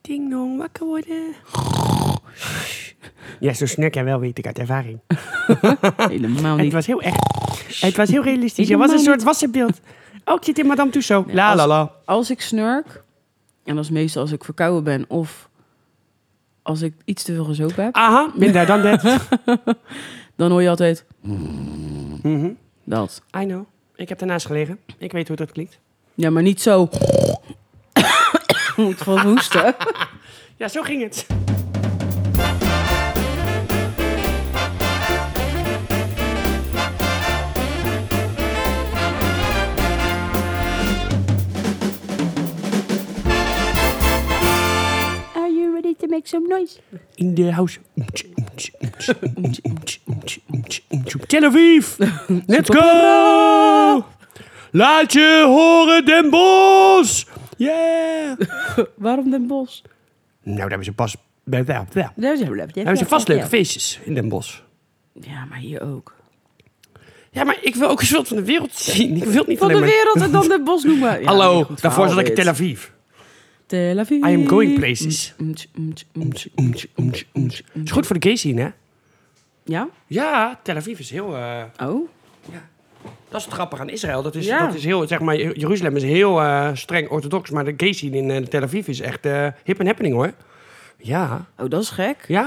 Ding dong, wakker worden. Ja, zo snurk jij wel, weet ik uit ervaring. Oh, Helemaal Het niet. was heel echt. Het was heel realistisch. Het Helemaal was een soort niet. wassenbeeld. Ook zit in Madame Tussauds. Nee, la als- la la. Als ik snurk, en dat is meestal als ik verkouden ben of als ik iets te veel gezopen heb, Aha, minder dan dat. dan hoor je altijd Mhm. dat. I know. Ik heb daarnaast gelegen. Ik weet hoe dat klinkt. Ja, maar niet zo. Moet gewoon hoesten. Ja, zo ging het. Are you ready to make some noise? In de house. Tel Aviv. Let's go. Laat je horen, Den Bos. Yeah. Waarom Den Bos? Nou, daar hebben ze pas... Daar hebben Daar zijn we leuk. ze vast leuke feestjes in Den Bos. Ja, maar hier ook. Ja, maar ik wil ook eens wat van de wereld zien. Ik wil het niet Van alleen de maar- wereld en dan Den Bos noemen. Ja, Hallo, goed verhaal daarvoor zat ik in dit. Tel Aviv. Tel Aviv. Mm, I am going places. Mm, Oemtje, oemtje, oemtje, Oemtje, oemtje, oemtje, oemtje, oemtje. oemtje, Is oemtje. goed voor de gay scene, hè? mm, Ja? Mhm. Ja, Tel Aviv is heel... eh, Oh. Dat is het grappige aan Israël. Dat is, Ja. dat is heel, zeg maar, Jer- Jeruzalem is heel eh, streng orthodox, maar de gay scene in eh, Tel Aviv is echt eh, hip en happening hoor. Ja, Oh, dat is gek. ja,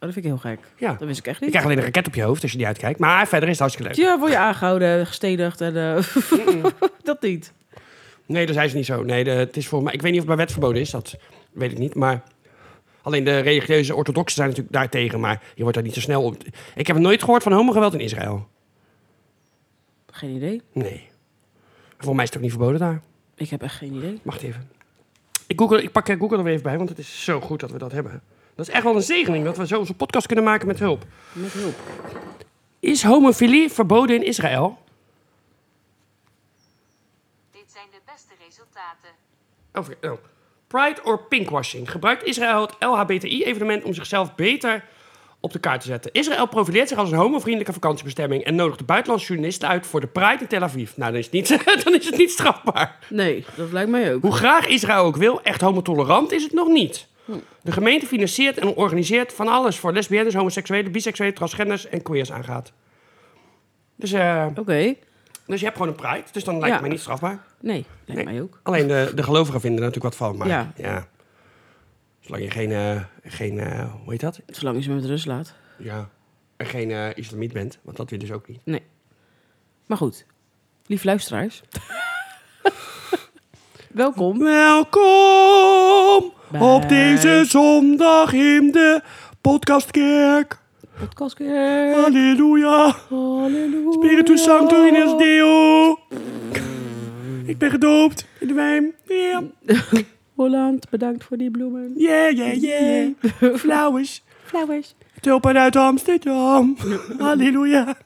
Oh, dat vind ik heel gek. ja. Dat wist ik echt Je niet. krijgt alleen een raket op je hoofd als je niet uitkijkt. Maar verder is het hartstikke leuk. Ja, word je aangehouden, gestedigd en eh, dat niet. Nee, dat is niet zo. Nee, de- het is voor mij. Ik weet niet of het bij wet verboden is, dat weet ik niet. Maar alleen de religieuze orthodoxen zijn natuurlijk daartegen. Maar je wordt daar niet zo snel op. Ik heb nooit gehoord van homogeweld in Israël. Geen idee. Nee. Voor mij is het ook niet verboden daar. Ik heb echt geen idee. Wacht even. Ik, Google, ik pak eh, Google er weer even bij, want het is zo goed dat we dat hebben. Dat is echt wel een zegening dat we zo onze podcast kunnen maken met hulp. Met hulp. Is homofilie verboden in Israël? Dit zijn de beste resultaten. Of, oh. Pride or pinkwashing? Gebruikt Israël het LHBTI-evenement om zichzelf beter op de kaart te zetten? Israël profileert zich als een homovriendelijke vakantiebestemming en nodigt de buitenlandse journalisten uit voor de Pride in Tel Aviv. Nou, dan is het niet, dan is het niet strafbaar. Nee, dat lijkt mij ook. Hoe graag Israël ook wil, echt homotolerant is het nog niet. De gemeente financiert en organiseert van alles voor lesbiennes, homoseksuelen, biseksuelen, transgenders en queers aangaat. Dus, eh, Oké. dus je hebt gewoon een pride, dus dan lijkt Ja. het mij niet strafbaar. Nee, lijkt Nee. mij ook. Alleen de, de gelovigen vinden er natuurlijk wat van, maar ja. Ja. Zolang je geen, eh, geen eh, hoe heet dat? Zolang je ze met rust laat. Ja. En geen eh, islamiet bent, want dat wil je dus ook niet. Nee. Maar goed. Lief luisteraars. Welkom. Welkom Bij- op deze zondag in de podcastkerk. Podcastkeer. Halleluja. Halleluja. Spiritus Sancto in ons Deo. Ik ben gedoopt in de wijn. Yeah, Holland, bedankt voor die bloemen. yeah, yeah. yeah. Flowers. Flowers. Tulpen uit Amsterdam. Halleluja.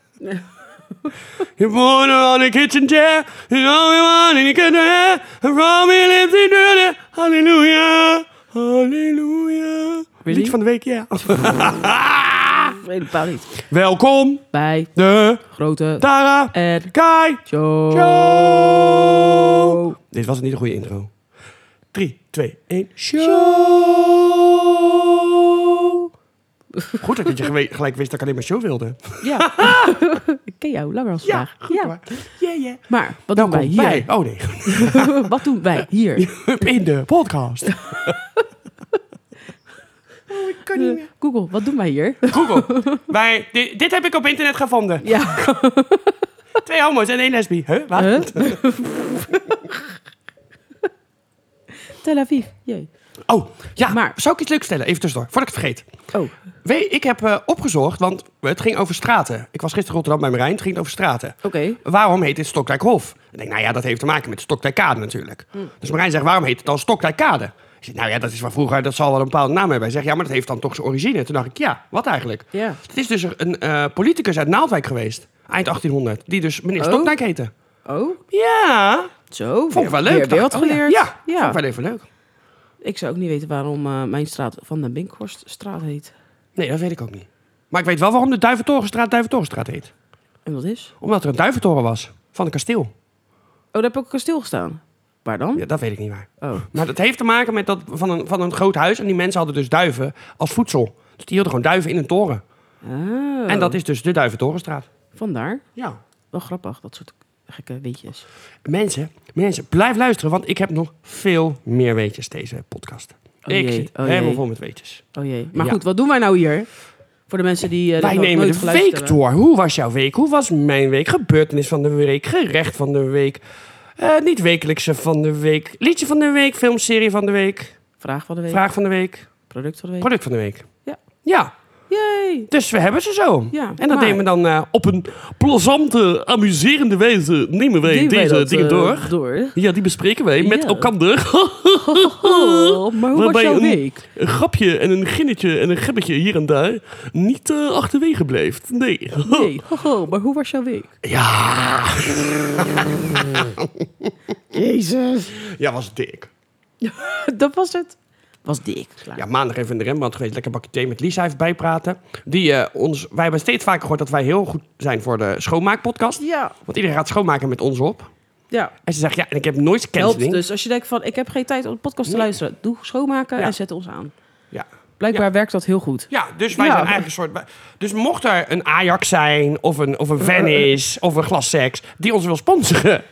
You born on the kitchen chair. You only one in the kitchen hair. From me lives in the Halleluja. Halleluja. Really? Lied van de week, ja. Helemaal niet. Welkom, Bij de grote Tara en Kai show. Show! Dit was niet een goede intro. 3, 2, 1, show! Goed dat ik je gewe- gelijk wist dat ik alleen maar show wilde. Ja. ik ken jou langer als vandaag. hoor. Yeah, yeah. Maar wat doen wij Welkom bij... hier? Oh nee, wat doen wij hier? in de podcast. oh, ik kan niet meer. Google, wat doen wij hier? Google, wij, dit, dit heb ik op internet gevonden. ja. Twee homo's en één lesbi. Huh? Wat? Huh? Tel Aviv. Jee. Oh, ja. Maar- Zou ik iets leuks vertellen? Even tussendoor, voordat ik het vergeet. Oh, Weet, ik heb eh, opgezocht, want het ging over straten. Ik was gisteren in Rotterdam bij Marijn, het ging over straten. oké. Waarom heet dit Stokdijkhof? Ik denk, nou ja, dat heeft te maken met Stokdijkade natuurlijk. Hmm. Dus Marijn zegt, waarom heet het dan Stokdijkade? Ik zeg, nou ja, dat is van vroeger, dat zal wel een bepaalde naam hebben. Hij zegt, ja, maar dat heeft dan toch zijn origine. Toen dacht ik, ja, wat eigenlijk? Ja. Het is dus een eh, politicus uit Naaldwijk geweest, eind 1800, die dus meneer Oh. Stokdijk heette. Oh, Ja, zo. vond ik wel leuk. Weer, weer wat dacht ik. Oh, ja. geleerd. Ja, vond ik wel even leuk. Ik zou ook niet weten waarom eh, mijn straat Van den Binkhorststraat heet. Nee, dat weet ik ook niet. Maar ik weet wel waarom de Duiventorenstraat Duiventorenstraat heet. En dat is? Omdat er een duiventoren was van een kasteel. Oh, daar heb ik ook een kasteel gestaan. Waar dan? Ja, dat weet ik niet waar. Oh. Maar dat heeft te maken met dat van een, van een groot huis. En die mensen hadden dus duiven als voedsel. Dus die hielden gewoon duiven in een toren. Oh. En dat is dus de Duiventorenstraat. Vandaar. Ja. Wel grappig, dat soort gekke weetjes. Mensen, mensen, blijf luisteren. Want ik heb nog veel meer weetjes deze podcast. Oh ik jee, zit oh helemaal jee. vol met weetjes. Oh jee. Maar Ja. goed, wat doen wij nou hier? Voor de mensen die eh dit Wij nog nemen nooit de geluisterd week hebben. door. Hoe was jouw week? Hoe was mijn week? Gebeurtenis van de week, gerecht van de week. eh, niet wekelijkse van de week. Liedje van de week, filmserie van de week. Vraag van de week. Vraag van de week, Product van de week. product van de week. Ja. Ja, Yay! dus we hebben ze zo. Ja, Nou, en dat maar- nemen we dan eh, op een plezante, amuserende wijze nemen wij Deden wij deze dat, dingen eh, door. door. Ja, die bespreken wij met Ja. elkander. Oh, maar hoe was Waarbij jouw een- week? Een grapje en een ginnetje en een gebbetje hier en daar niet eh, achterwege blijft. Nee. Nee, hoho, maar hoe was jouw week? Ja. Jezus. Ja, was dik. Dat was het. Was dik. Klaar. Ja, maandag even in de Rembrandt geweest. Lekker bakje thee met Lisa even bijpraten. Die, eh, ons, wij hebben steeds vaker gehoord dat wij heel goed zijn voor de schoonmaakpodcast. ja. Want iedereen gaat schoonmaken met ons op. ja. En ze zegt, ja, en ik heb nooit Helpt canceling. dus. Als je denkt van, ik heb geen tijd om de podcast te Nee. luisteren. Doe schoonmaken Ja. en zet ons aan. Ja. Blijkbaar werkt dat heel goed. Ja, dus wij dus. Ja. zijn eigenlijk een soort... Dus mocht er een Ajax zijn, of een, of een Venice, Eh, of een Glassex, die ons wil sponsoren,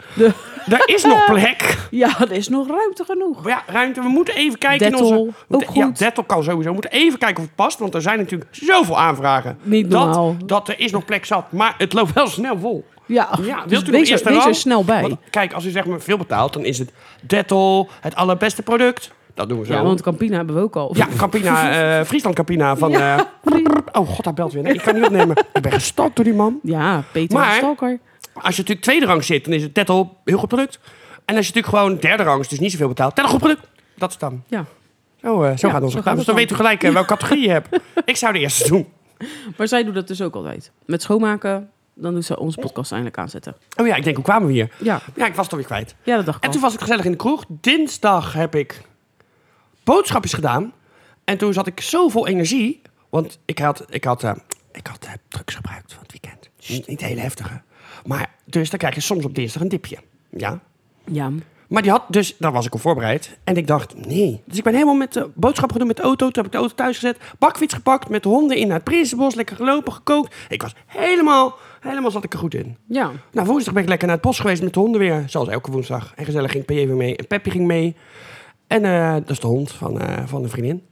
daar is nog plek. Ja, er is nog ruimte genoeg. Maar ja, ruimte, we moeten even kijken Dettel, in onze... ook Ja, goed. Dettel kan sowieso. We moeten even kijken of het past, want er zijn natuurlijk zoveel aanvragen. Niet normaal. Dat, dat er is nog plek zat, maar het loopt wel snel vol. Ja, Ja, dus wilt u nog wees, eerst er, een wees er rang? snel bij. Want kijk, als u zeg maar veel betaalt, dan is het Dettel het allerbeste product. Dat doen we zo. ja, want Campina hebben we ook al. Ja, Campina, eh, Friesland Campina van... Ja, eh, oh god, hij belt weer. Nee, ik kan niet opnemen. Ik ben gestalkt door die man. Ja, Peter Maar- de Stalker. Als je natuurlijk tweede rang zit, dan is het Tettel heel goed product. En als je natuurlijk gewoon derde rang is, dus niet zoveel betaalt, Tettel goed product. Dat is dan. Ja. Zo, eh, zo Ja, gaat onze zo gang. gaat Dus het dan dan. weet u gelijk eh, welke categorie je hebt. Ik zou de eerste doen. Maar zij doen dat dus ook altijd. Met schoonmaken, dan doen ze onze podcast eindelijk aanzetten. Oh ja, ik denk, hoe kwamen we hier? Ja, Ja, ik was het alweer kwijt. ja dat dacht ik En al. toen was ik gezellig in de kroeg. Dinsdag heb ik boodschapjes gedaan. En toen zat ik zoveel energie. Want ik had, ik had, eh, ik had eh, drugs gebruikt van het weekend. Niet, niet heel heftige. Maar dus dan krijg je soms op dinsdag een dipje. Ja. Ja, Maar die had dus, daar was ik op voorbereid. En ik dacht, nee. Dus ik ben helemaal met de boodschap gaan doen met de auto. Toen heb ik de auto thuis gezet. Bakfiets gepakt, met de honden in naar het Prinsenbos. Lekker gelopen, gekookt. Ik was helemaal, helemaal zat ik er goed in. ja. Nou, woensdag ben ik lekker naar het bos geweest met de honden weer. Zoals elke woensdag. En gezellig ging PJ weer mee. En Peppy ging mee. En eh, dat is de hond van, eh, van een vriendin.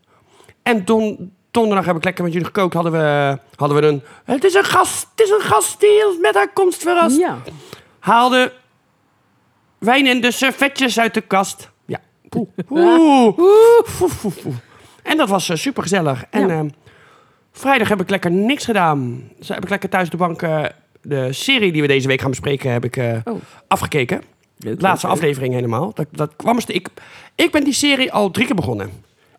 En don, donderdag heb ik lekker met jullie gekookt. Hadden we, hadden we een... Het is een gast, het is een gast die ons met haar komst verrast. ja. Haalde wijn en de servetjes uit de kast. Ja. Oeh. Oeh. Oeh. Oeh. Oeh. En dat was super gezellig. En Ja. ehm, vrijdag heb ik lekker niks gedaan. Dus heb ik lekker thuis op de bank eh, de serie die we deze week gaan bespreken heb ik eh, Oh. afgekeken. Leuk, De laatste leuk, leuk. aflevering helemaal. Dat, dat kwam eens te- ik, ik ben die serie al drie keer begonnen.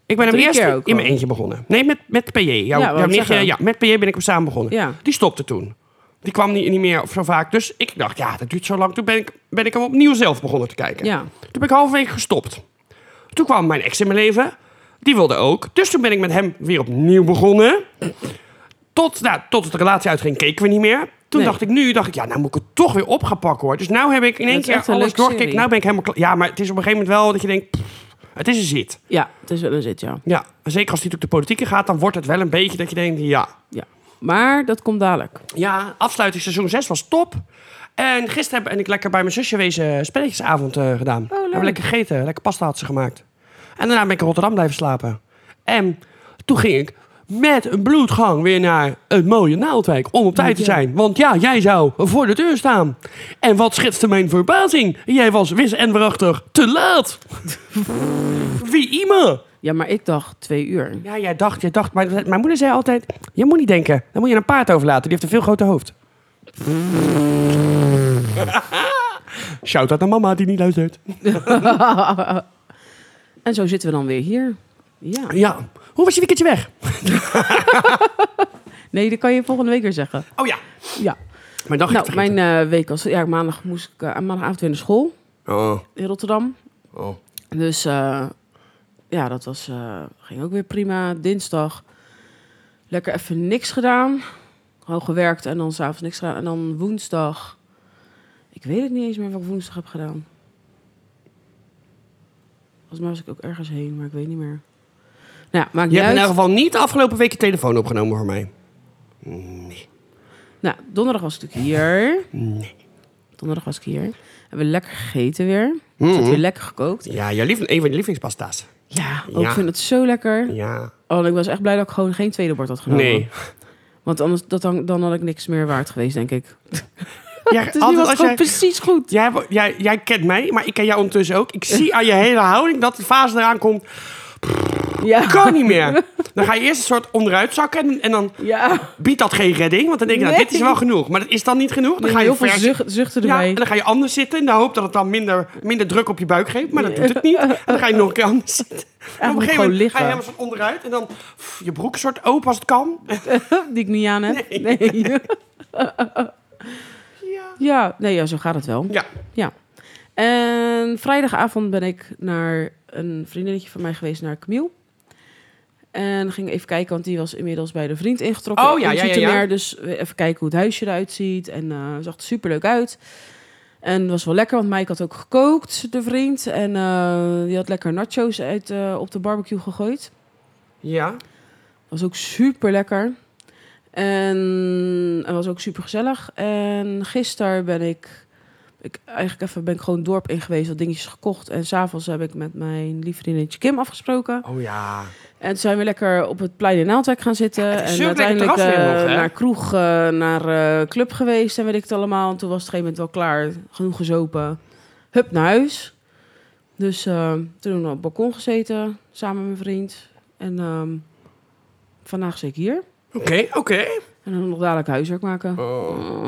Ik ben hem Drie eerst keer ook in mijn al? eentje begonnen. Nee, met, met PJ. Jouw, wou jouw ik nichtje, zeggen. ja, met PJ ben ik hem samen begonnen. Ja. Die stopte toen. Die kwam niet, niet meer zo vaak. Dus ik dacht, ja, dat duurt zo lang. Toen ben ik, ben ik hem opnieuw zelf begonnen te kijken. Ja. Toen ben ik halverwege gestopt. Toen kwam mijn ex in mijn leven. Die wilde ook. Dus toen ben ik met hem weer opnieuw begonnen. Tot, nou, tot het de relatie uitging, keken we niet meer. Toen Nee. dacht ik nu, dacht ik, ja, nou moet ik het toch weer op gaan pakken hoor. Dus nu heb ik in één Dat is keer echt een alles leuke doorgekeken. serie. Nou ben ik helemaal klaar. Ja, maar het is op een gegeven moment wel dat je denkt, pff, het is een zit. Ja, het is wel een zit, ja. Ja, zeker als die natuurlijk de politieke gaat, dan wordt het wel een beetje dat je denkt, ja. ja. Maar dat komt dadelijk. Ja, afsluiting seizoen 6 was top. En gisteren ben ik lekker bij mijn zusje wezen spelletjesavond eh, gedaan. We Hebben lekker gegeten, lekker pasta had ze gemaakt. En daarna ben ik in Rotterdam blijven slapen. En toen ging ik met een bloedgang weer naar het mooie Naaldwijk om op tijd te zijn. Want ja, jij zou voor de deur staan. En wat schetste mijn verbazing? Jij was wis en waarachtig te laat. Wie iemand? Ja, maar ik dacht twee uur. Ja, jij dacht, jij dacht. Maar mijn moeder zei altijd, je moet niet denken. Dan moet je een paard overlaten. Die heeft een veel groter hoofd. Shout out naar mama die niet luistert. En zo zitten we dan weer hier. Ja. Ja. Hoe was je weekendje weg? Nee, dat kan je volgende week weer zeggen. Oh ja. Ja. Mijn dag Nou, mijn eh, week was... Ja, maandag moest ik... eh, maandagavond weer naar school Oh. in Rotterdam. Oh. Dus eh, ja, dat was, eh, ging ook weer prima. Dinsdag lekker even niks gedaan. Gewoon gewerkt en dan s'avonds niks gedaan. En dan woensdag, ik weet het niet eens meer wat ik woensdag heb gedaan. Volgens mij was ik ook ergens heen, maar ik weet niet meer. Nou ja, maakt Je niet hebt in uit. ieder geval niet de afgelopen week je telefoon opgenomen voor mij. Nee. Nou, donderdag was ik natuurlijk hier. Nee. Donderdag was ik hier. Hebben we lekker gegeten weer. Mm. Het had weer lekker gekookt. Ja, jouw lief, een van je lievelingspasta's. Ja, ook Ja. vind het zo lekker. Ja. Oh, ik was echt blij dat ik gewoon geen tweede bord had genomen. Nee. Want anders dat dan, dan had ik niks meer waard geweest, denk ik. Ja, Dus altijd nu was het als gewoon jij, precies goed. jij, hebt- jij, jij kent mij, maar ik ken jou ondertussen ook. Ik zie aan je hele houding dat de fase eraan komt. Ja. Kan niet meer. Dan ga je eerst een soort onderuit zakken en, en dan Ja. biedt dat geen redding. Want dan denk je, nou, Nee. dit is wel genoeg. Maar dat is dan niet genoeg. Dan Dan ga je heel veel vers- zucht, zuchten Ja, erbij. en dan ga je anders zitten in de hoop dat het dan minder, minder druk op je buik geeft. Maar dat doet het niet. En dan ga je nog een keer anders zitten. En op een moet ik gegeven gewoon moment ga liggen. je helemaal van onderuit. En dan pff, je broek soort open als het kan. Die ik niet aan heb. Nee. Ja. ja. Nee, ja, zo gaat het wel. Ja. Ja. En vrijdagavond ben ik naar een vriendinnetje van mij geweest, naar Camille. En ging even kijken, want die was inmiddels bij de vriend ingetrokken. Oh, ja, in ja, ja, ja. Zoetermeer. Dus even kijken hoe het huisje eruit ziet. En eh, zag er superleuk uit. En was wel lekker, want Mike had ook gekookt, de vriend. En eh, die had lekker nachos uit, eh, op de barbecue gegooid. Ja. Was ook super lekker. En het was ook super gezellig. En gisteren ben ik, ik eigenlijk even ben ik gewoon het dorp in geweest, wat dingetjes gekocht. En s'avonds heb ik met mijn lief vriendinnetje Kim afgesproken. Oh ja. En toen zijn we lekker op het plein in Naaldwijk gaan zitten. het is en zulk lekker uiteindelijk terras weer eh, nog, hè? naar kroeg, eh, naar eh, club geweest en weet ik het allemaal. En toen was het op een gegeven moment wel klaar, genoeg gezopen. Hup naar huis. Dus eh, toen op het balkon gezeten, samen met mijn vriend. En ehm, vandaag zit ik hier. Oké, oké. En dan nog dadelijk huiswerk maken. Oh.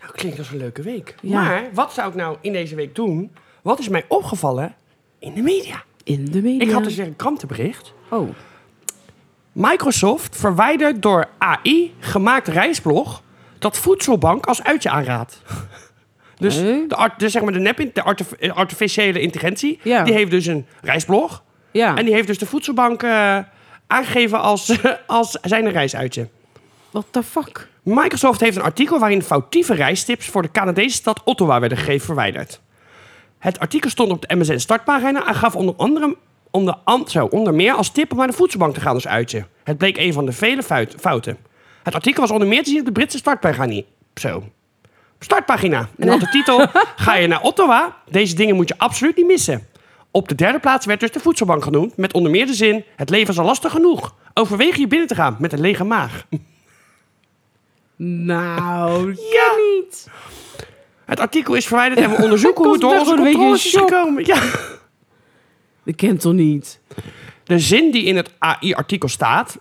Nou, klinkt als een leuke week. Ja. Maar wat zou ik nou in deze week doen? Wat is mij opgevallen in de media? In de media. Ik had dus weer een krantenbericht. Oh, Microsoft verwijdert door AI gemaakt reisblog dat voedselbank als uitje aanraadt. Dus, Hé? de, art, dus zeg maar de nep, in- de artif- eh, artificiële intelligentie, Ja. Ah. die heeft dus een reisblog. ja. En die heeft dus de voedselbank eh, aangegeven als, als zijn reisuitje. What the fuck? Microsoft heeft een artikel waarin foutieve reistips voor de Canadese stad Ottawa werden gegeven verwijderd. Het artikel stond op de MSN startpagina en gaf onder, andere, onder, an- zo, onder meer als tip om naar de voedselbank te gaan als uitje. Het bleek een van de vele fuit- fouten. Het artikel was onder meer te zien op de Britse startpagina. Zo. Startpagina. En had de titel Ga je naar Ottawa? Deze dingen moet je absoluut niet missen. Op de derde plaats werd dus de voedselbank genoemd met onder meer de zin Het leven is al lastig genoeg. Overweeg hier binnen te gaan met een lege maag. Nou, Ja. ja. niet. Het artikel is verwijderd en we onderzoeken hoe het Komt door onze er gewoon een controles is beetje in gekomen. Ja. Dat kent toch niet? De zin die in het AI-artikel staat,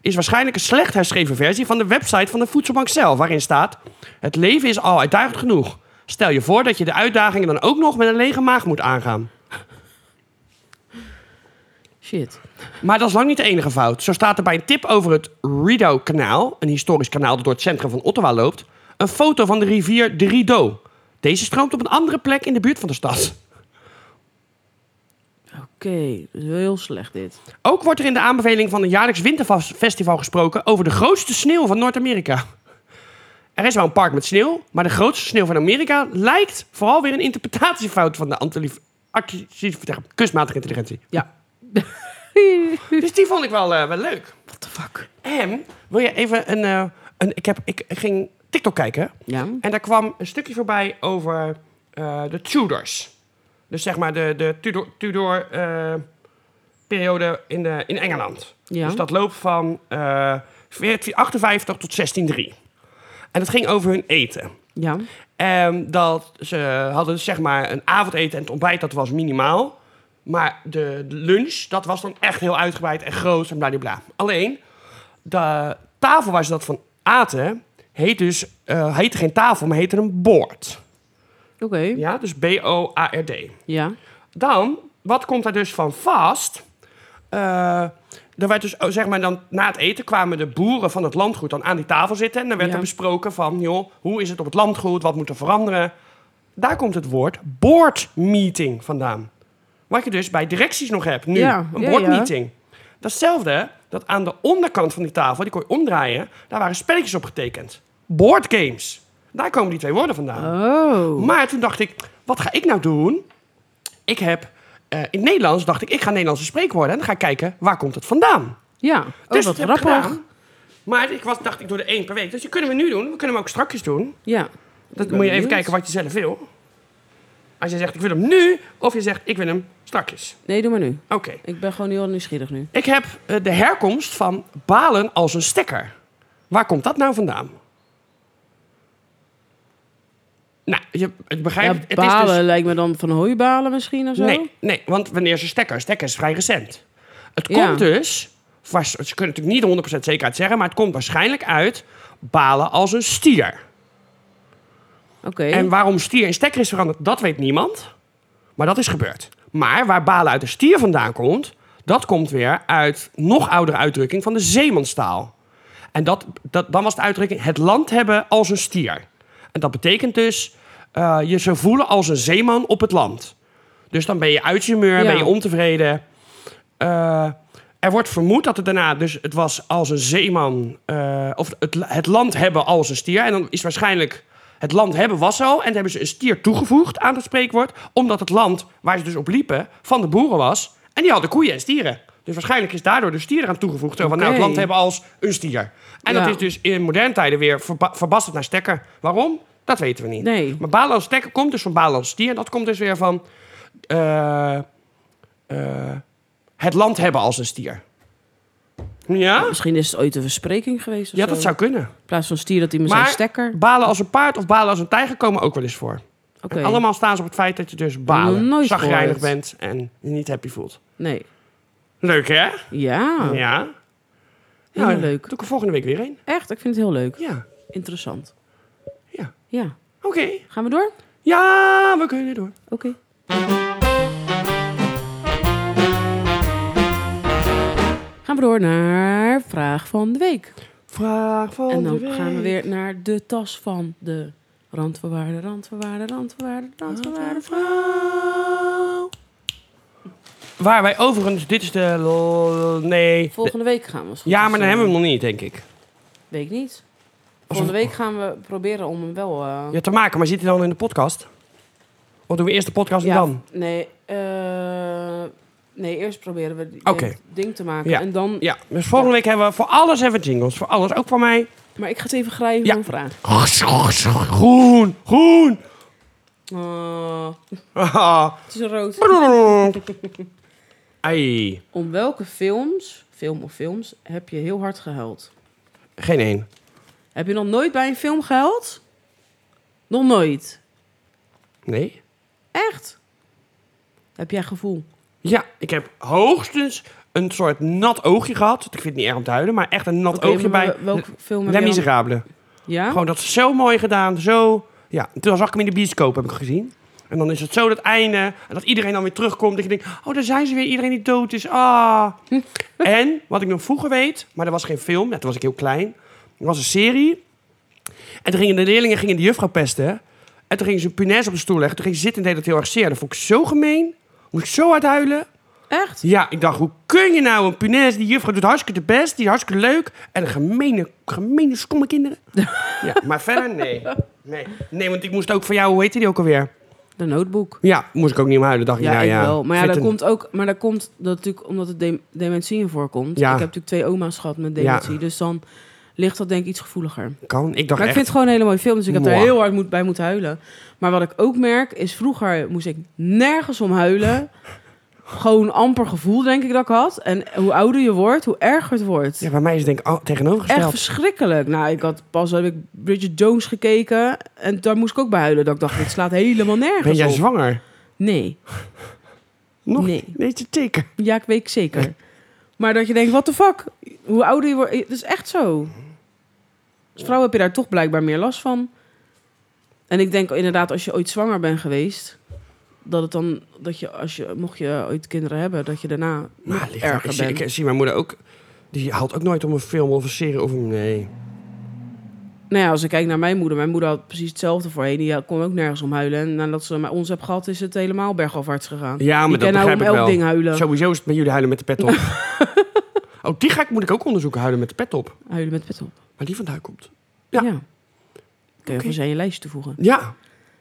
is waarschijnlijk een slecht herschreven versie van de website van de voedselbank zelf, waarin staat: Het leven is al uitdagend genoeg. Stel je voor dat je de uitdagingen dan ook nog met een lege maag moet aangaan. Shit. Maar dat is lang niet de enige fout. Zo staat er bij een tip over het Rideau-kanaal, een historisch kanaal dat door het centrum van Ottawa loopt, een foto van de rivier de Rideau. Deze stroomt op een andere plek in de buurt van de stad. Oké, dat is wel heel slecht dit. Ook wordt er in de aanbeveling van een jaarlijks winterfestival gesproken over de grootste sneeuw van Noord-Amerika. Er is wel een park met sneeuw, maar de grootste sneeuw van Amerika lijkt vooral weer een interpretatiefout van de antili- artifici- kunstmatige intelligentie. Ja. Dus die vond ik wel, eh, wel leuk. What the fuck? En wil je even een. eh, een ik, heb, ik ging TikTok kijken Ja. en daar kwam een stukje voorbij over eh, de Tudors. Dus zeg maar de, de Tudor-periode in, de- in Engeland. Ja. Dus dat loopt van eh 1458 tot 1603. En dat ging over hun eten. Ja. En Ehm, dat ze hadden zeg maar een avondeten en het ontbijt, dat was minimaal. Maar de lunch, dat was dan echt heel uitgebreid en groot en bladibla. Alleen, de tafel waar ze dat van aten, heet dus, eh, heette geen tafel, maar heette een boord. Oké. Ja. Ja, dus B-O-A-R-D. Dan, wat komt daar dus van vast? Eh er werd dus, oh, zeg maar, dan, na het eten kwamen de boeren van het landgoed dan aan die tafel zitten. En dan werd Ja. er besproken van, joh, hoe is het op het landgoed? Wat moet er veranderen? Daar komt het woord board meeting vandaan. Wat je dus bij directies nog hebt nu. Ja, een ja, board ja. meeting. Datzelfde, dat aan de onderkant van die tafel, die kon je omdraaien, daar waren spelletjes op getekend. Board games. Daar komen die twee woorden vandaan. Oh. Maar toen dacht ik, wat ga ik nou doen? Ik heb eh, in het Nederlands dacht ik, ik ga Nederlandse spreekwoorden. En dan ga ik kijken, waar komt het vandaan? Ja, oh, dus wat dat heb ik grappig. gedaan. Maar ik was, dacht, ik doe er één per week. Dus die kunnen we nu doen. We kunnen hem ook strakjes doen. Ja. Dat moet ben je even benieuwd. kijken wat je zelf wil. Als je zegt, ik wil hem nu. Of je zegt, ik wil hem strakjes. Nee, doe maar nu. Oké. Ik ben gewoon heel nieuwsgierig nu. Ik heb eh, de herkomst van balen als een stekker. Waar komt dat nou vandaan? Nou, je, het Ja, begrijpt... het is dus- balen lijkt me dan van hooibalen misschien of zo. Nee, nee, want wanneer ze stekker, stekker is vrij recent. Het Ja. komt dus, waars- ze kunnen natuurlijk niet 100% zekerheid zeggen, maar het komt waarschijnlijk uit balen als een stier. Oké. En waarom stier in stekker is veranderd, dat weet niemand. Maar dat is gebeurd. Maar waar balen uit de stier vandaan komt, dat komt weer uit nog oudere uitdrukking van de zeemanstaal. En dat, dat, dan was de uitdrukking het land hebben als een stier. En dat betekent dus eh, je zo voelen als een zeeman op het land. Dus dan ben je uit je muur, Ja. ben je ontevreden. Eh, er wordt vermoed dat het daarna, dus het was als een zeeman, eh, of het, het land hebben als een stier. En dan is waarschijnlijk, het land hebben was al, en dan hebben ze een stier toegevoegd aan het spreekwoord, omdat het land waar ze dus op liepen van de boeren was. En die hadden koeien en stieren. Dus waarschijnlijk is daardoor de stier eraan toegevoegd. Zo van, nou, het Oké. land hebben als een stier. En dat Ja. is dus in moderne tijden weer verba- verbasterd naar stekker. Waarom? Dat weten we niet. Nee. Maar balen als stekker komt dus van balen als stier. En dat komt dus weer van eh, eh, het land hebben als een stier. Ja? Misschien is het ooit een verspreking geweest of Ja, zo. dat zou kunnen. In plaats van stier dat iemand Maar- zijn stekker. Balen als een paard of balen als een tijger komen ook wel eens voor. Oké. En allemaal staan ze op het feit dat je dus Nog balen, nooit zagrijnig gehoord. bent en je niet happy voelt. Nee. Leuk, hè? Ja. Ja. Helemaal Nou, Oh. leuk. Doe ik er volgende week weer een. Echt, ik vind het heel leuk. Ja. Interessant. Ja. Ja. Oké. Gaan we door? Ja, we kunnen door. Oké. Gaan we door naar vraag van de week. Vraag van de En dan week. gaan we weer naar de tas van de randvoorwaarde, randvoorwaarde, randvoorwaarde, randvoorwaarde. Vrouw. Waar wij overigens, dit is de... l- Nee. Volgende week gaan we. als het Ja, goed maar is, dan hebben we eh, hem nog niet, denk ik. Weet ik niet. Volgende week gaan we proberen om hem wel... eh, Ja, te maken, maar zit hij dan in de podcast? Of doen we eerst de podcast en dan? Nee, eh, nee, eerst proberen we die- Oké. het ding te maken. Ja. En dan, Ja, dus volgende week hebben we voor alles hebben we jingles. Voor alles, ook voor mij. Maar ik ga het even grijpen Ja. ja. vragen. Groen, groen. Oh, het is rood. Ai, Om welke films, film of films, heb je heel hard gehuild? geen één. Heb je nog nooit bij een film gehuild? Nog nooit. Nee? Echt? Heb jij gevoel? Ja, ik heb hoogstens een soort nat oogje gehad. Ik vind het niet erg om te huilen, maar echt een nat Oké, oogje maar bij... wel- welke film heb Les je dan- Miserables. Ja? Gewoon dat is zo mooi gedaan, zo... Ja, en toen zag ik hem in de bioscoop, heb ik gezien. En dan is het zo dat einde, en dat iedereen dan weer terugkomt. Dat je denkt, oh, daar zijn ze weer, iedereen die dood is. Ah. en, wat ik nog vroeger weet, maar er was geen film, ja, toen was ik heel klein. Er was een serie. En toen gingen de leerlingen gingen de juffrouw pesten. En toen gingen ze een punaise op de stoel leggen. Toen ging ze zitten en deed dat heel erg zeer. Dat vond ik zo gemeen. Moest ik zo hard huilen. Echt? Ja, ik dacht, hoe kun je nou een punaise? Die juffrouw doet hartstikke de best, die is hartstikke leuk. En een gemene, gemene, stomme kinderen. ja, maar verder, nee. nee. Nee, want ik moest ook van jou, hoe heette die ook alweer? De Notebook. Ja, moest ik ook niet om huilen, dacht ik. Ja, nou, ik ja. wel. Maar ja, Vet dat een- komt ook... Maar dat komt dat natuurlijk omdat het de- dementie in voorkomt. Ja. Ik heb natuurlijk twee oma's gehad met dementie. Ja. Dus dan ligt dat denk ik iets gevoeliger. Kan, ik dacht Maar ik echt... vind het gewoon een hele mooie film, dus ik heb Mwah. er heel hard moet, bij moeten huilen. Maar wat ik ook merk, is vroeger moest ik nergens om huilen. gewoon amper gevoel, denk ik, dat ik had. En hoe ouder je wordt, hoe erger het wordt. Ja, bij mij is het denk ik al- Echt tegenovergesteld. verschrikkelijk. Nou, ik had pas heb ik Bridget Jones gekeken en daar moest ik ook bij huilen. Dat ik dacht, dit slaat helemaal nergens ben jij op. zwanger? Nee, Nog Nee. Deze teken. ja, ik weet ik zeker. Maar dat je denkt, what the fuck? Hoe ouder je wordt, het is echt zo. Als vrouw heb je daar toch blijkbaar meer last van. En ik denk inderdaad, als je ooit zwanger bent geweest, dat het dan, dat je, als je, mocht je ooit kinderen hebben, dat je daarna Maar nog Nou, ligt- ik, erger zie, bent. ik zie mijn moeder ook... Die haalt ook nooit om een film of een serie of een... Nee. Nou ja, als ik kijk naar mijn moeder, mijn moeder had precies hetzelfde voorheen. Die kon ook nergens om huilen. En nadat ze mij ons heeft gehad, is het helemaal bergafwaarts gegaan. Ja, maar die dat kan nou begrijp om ik elk wel. ding huilen. Sowieso is het bij jullie huilen met de pet op. oh, die ga ik, moet ik ook onderzoeken, huilen met de pet op. Huilen met pet op. Waar die vandaan komt. Ja. Ja. Kun je voor zijn je lijst toevoegen. Ja,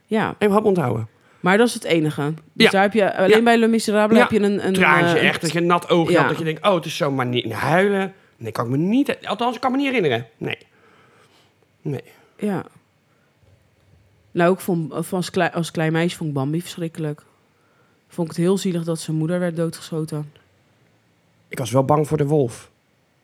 Ja. even hap onthouden. Maar dat is het enige. Dus Ja. daar heb je, alleen Ja. bij Le Miserable Ja. heb je een... een traantje eh, echt, dat je een nat oogje ja. had, dat je denkt, oh, het is zo, maar niet huilen. Nee, kan ik me niet, althans, ik kan me niet herinneren. Nee. Nee. Ja. Nou, ook vond, of als, klein, als klein meisje vond ik Bambi verschrikkelijk. Vond ik het heel zielig dat zijn moeder werd doodgeschoten. Ik was wel bang voor de wolf.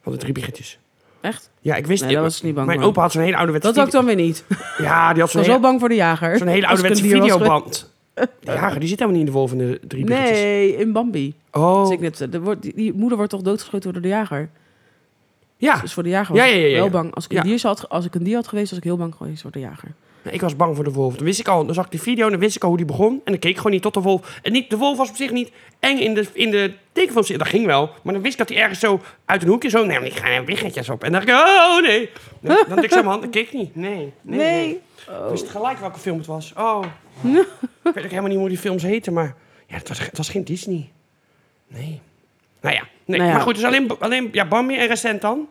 Van de drie biggetjes. Echt? Ja, ik wist Nee, ik- daar was ik niet bang Mijn voor. opa had zo'n hele ouderwetse... Dat had ik dan weer niet. Ik video- Ja, die had zo'n was wel hele, bang voor de jager. zo'n hele Als ik een ouderwetse dier was videoband. De jager, die zit helemaal niet in de wolf en de drie geweest. biggetjes. Nee, in Bambi. Dus Oh, ik net, er wordt, die, die moeder wordt toch doodgeschoten door de jager? ja. Dus voor de jager was Ja, ja, ja, ik ja, wel ja. bang. Als ik, een Ja. dier zou had, ge- als ik een dier had geweest, was ik heel bang geweest voor de jager. Nee, Ik was bang voor de wolf. Dan wist ik al, dan zag ik die video en dan wist ik al hoe die begon. En dan keek ik gewoon niet tot de wolf. En niet, de wolf was op zich niet eng in de, in de tekenfilm. zit. Dat ging wel. Maar dan wist ik dat hij ergens zo uit een hoekje zo... Nee, maar ik ga er wiggetjes op. En dan dacht ik, oh nee. Dan, dan druk ik zo mijn hand. Dan keek ik niet. Nee. Nee. nee. Oh. Ik wist gelijk welke film het was. Oh. ik weet ook helemaal niet hoe die films heten, maar... Ja, het was, het was geen Disney. Nee. Nou ja. Nee. Nou ja. Maar goed, dus alleen, alleen ja, Bambi en recent dan?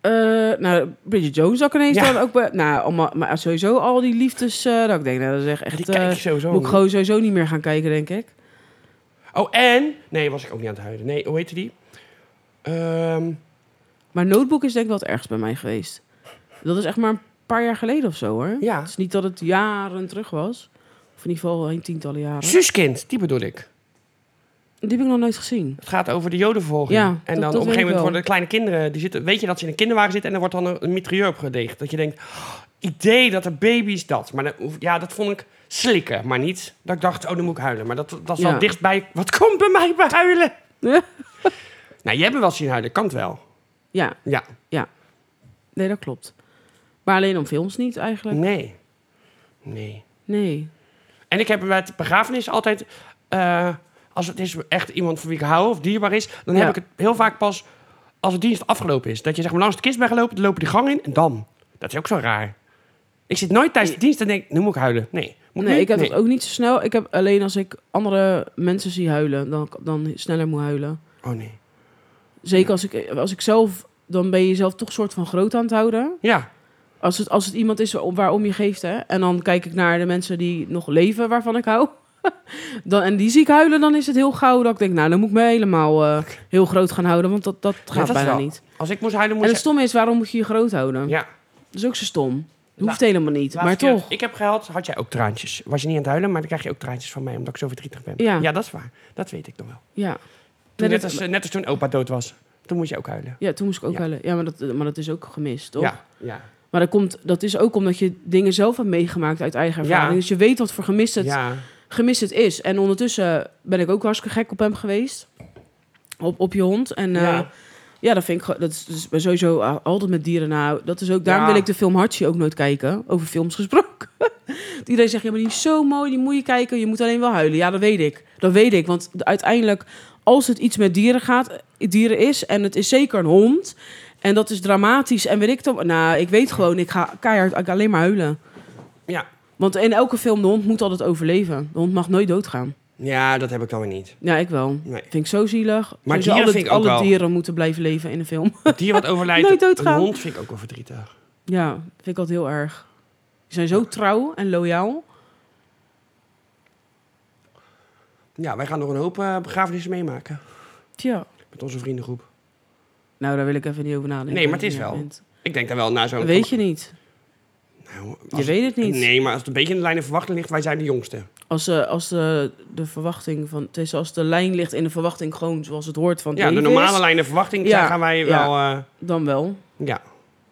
Eh, nou, Bridget Jones had ik ineens Ja. dan ook bij... Nou, allemaal, maar sowieso al die liefdes... eh, dat ik denk, nou, dat is echt... echt Die kijk eh, ik sowieso Moet ik niet. gewoon sowieso niet meer gaan kijken, denk ik. Oh, en... Nee, was ik ook niet aan het huilen. Nee, hoe heette die? Ehm... Maar Notebook is denk ik wel het ergst bij mij geweest. Dat is echt maar een paar jaar geleden of zo, hoor. Ja. Het is niet dat het jaren terug was. Of in ieder geval een tientallen jaren. Suskind, die bedoel ik. Die heb ik nog nooit gezien. Het gaat over de jodenvervolging. Ja, dat- en dan op dat een weet gegeven ik moment wel. worden de kleine kinderen... Die zitten, weet je dat ze in een kinderwagen zitten... en er wordt dan een, een mitrailleur op gedeegd. Dat je denkt, "Oh, idee dat er baby's dat. Maar dan- ja, dat vond ik slikken. Maar niet dat ik dacht, oh, dan moet ik huilen. Maar dat, dat is Ja. wel dichtbij... Wat komt bij mij bij huilen? Ja. nou, jij hebt me wel zien huilen. Kan het wel. Ja, Ja. nee, dat klopt. Maar alleen om films niet, eigenlijk. Nee. Nee. Nee. En ik heb bij het begrafenis altijd... eh, als het is echt iemand voor wie ik hou of dierbaar is... dan Ja. heb ik het heel vaak pas als de dienst afgelopen is. Dat je zeg maar langs de kist bent gelopen, dan loop je de gang in en dan. Dat is ook zo raar. Ik zit nooit tijdens de dienst en denk, nu moet ik huilen. Nee, moet Nee, nu? ik heb Nee. dat ook niet zo snel. Ik heb alleen als ik andere mensen zie huilen, dan, dan sneller moet huilen. Oh nee. Zeker als ik, als ik zelf, dan ben je jezelf toch soort van groot aan het houden. Ja, Als het, als het iemand is waar- waarom je geeft, hè. En dan kijk ik naar de mensen die nog leven, waarvan ik hou. Dan, en die zie ik huilen, dan is het heel gauw dat ik denk, nou, dan moet ik me helemaal eh, heel groot gaan houden. Want dat, dat gaat dat is bijna wel- niet. als ik moest huilen En moest het stomme is, waarom moet je je groot houden? ik... Ja. Dat is ook zo stom. Dat Laat- hoeft helemaal niet, maar Laatste keer toch. dat Ik heb gehuild, had jij ook traantjes. Was je niet aan het huilen, maar dan krijg je ook traantjes van mij... omdat ik zo verdrietig ben. Ja. ja dat is waar. Dat weet ik nog wel. Ja. Toen Nee, net, dat- als, eh, net als toen opa dood was. Toen moest je ook huilen. ja, toen moest ik ook Ja. huilen. Ja, maar dat, maar dat is ook gemist, toch? Ja, ja. Maar dat, komt, dat is ook omdat je dingen zelf hebt meegemaakt uit eigen Ja. ervaring. Dus je weet wat voor gemist het, ja. gemist het is. En ondertussen ben ik ook hartstikke gek op hem geweest. Op, op je hond. En eh, ja. Ja. dat vind ik ge- dat is, dat is bij sowieso a- altijd met dieren. Nou, dat is ook, daarom Ja. wil ik de film Hartje ook nooit kijken. Over films gesproken. Dat Iedereen zegt, ja, maar die is zo mooi, die moet je kijken. Je moet alleen wel huilen. Ja, dat weet ik. Dat weet ik, want de- uiteindelijk, als het iets met dieren gaat, dieren is... en het is zeker een hond, en dat is dramatisch... en weet ik dan... Nou, ik weet gewoon, ik ga keihard ik ga alleen maar huilen. Ja. Want in elke film, de hond moet altijd overleven. De hond mag nooit doodgaan. Ja, dat heb ik dan weer niet. Ja, ik wel. Nee. Vind ik zo zielig. Maar Sowieso dieren alle, vind ik ook alle wel. dieren moeten blijven leven in een film. Het dier wat overlijdt, Nooit doodgaan. een hond vind ik ook wel verdrietig. ja, vind ik altijd heel erg. Ze zijn zo trouw en loyaal. Ja, wij gaan nog een hoop eh, begrafenissen meemaken Tja. met onze vriendengroep. Nou, daar wil ik even niet over nadenken. Nee, maar het is wel. Vindt. Ik denk dan wel na zo'n... Weet je niet. Nou, Je als- weet het niet. Nee, maar als het een beetje in de lijn van verwachting ligt, wij zijn de jongste. Als, eh, als de, de verwachting van... Het is als de lijn ligt in de verwachting gewoon zoals het hoort van het Ja, de leven normale is, lijn van verwachting, Ja, daar gaan wij ja. wel... eh, Dan wel. ja.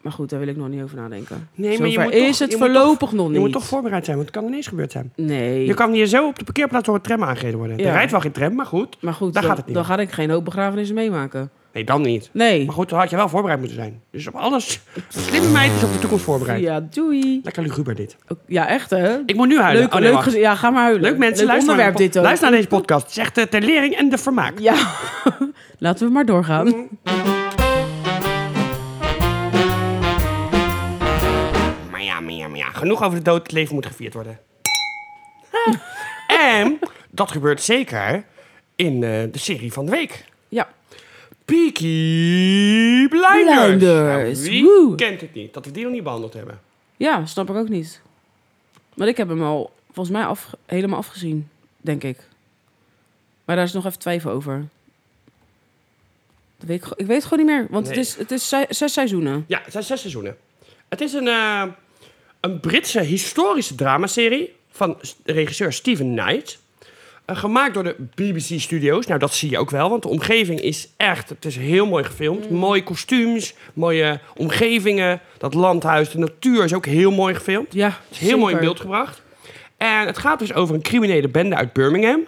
Maar goed, daar wil ik nog niet over nadenken. Nee, maar Zover je moet is toch- het je moet voorlopig nog Je niet. moet toch voorbereid zijn, want het kan ineens gebeurd zijn. Nee. Je kan hier zo op de parkeerplaats door een tram aangereden worden. Ja. Er rijdt wel geen tram, maar goed. Maar goed, Daar dan, gaat het niet dan om. ga ik geen hoop begrafenissen meemaken. Nee, dan niet. Nee. Maar goed, dan had je wel voorbereid moeten zijn. Dus op alles, slimme meid is op de toekomst voorbereid. Ja, doei. Lekker luguber dit. Ook- Ja, echt hè? Ik moet nu huilen. Leuk, Oh, nee, leuk wacht. gez- Ja, ga maar huilen. Leuk mensen, leuk luister, onderwerp naar de dit po- ook. luister naar deze podcast. Het is echt eh, ter lering en de vermaak. Ja. Laten we maar Mm-hmm. doorgaan. Maar ja, maar ja, maar ja. Genoeg over de dood. Het leven moet gevierd worden. en dat gebeurt zeker in eh, de serie van de week. Ja. Peaky Blinders. Blinders, Nou, wie woe. kent het niet? Dat we die nog niet behandeld hebben. Ja, snap ik ook niet. Maar ik heb hem al volgens mij af, helemaal afgezien, denk ik. Maar daar is nog even twijfel over. Dat weet ik, go- ik weet het gewoon niet meer, want Nee. het is, het is zij- zes seizoenen. Ja, het zijn zes seizoenen. Het is een, eh, een Britse historische dramaserie van s- regisseur Steven Knight. Eh, gemaakt door de BBC Studios. Nou, dat zie je ook wel, want de omgeving is echt... Het is heel mooi gefilmd. Mooie kostuums, mooie omgevingen. Dat landhuis, de natuur is ook heel mooi gefilmd. Ja, Het is heel mooi in beeld gebracht. En het gaat dus over een criminele bende uit Birmingham.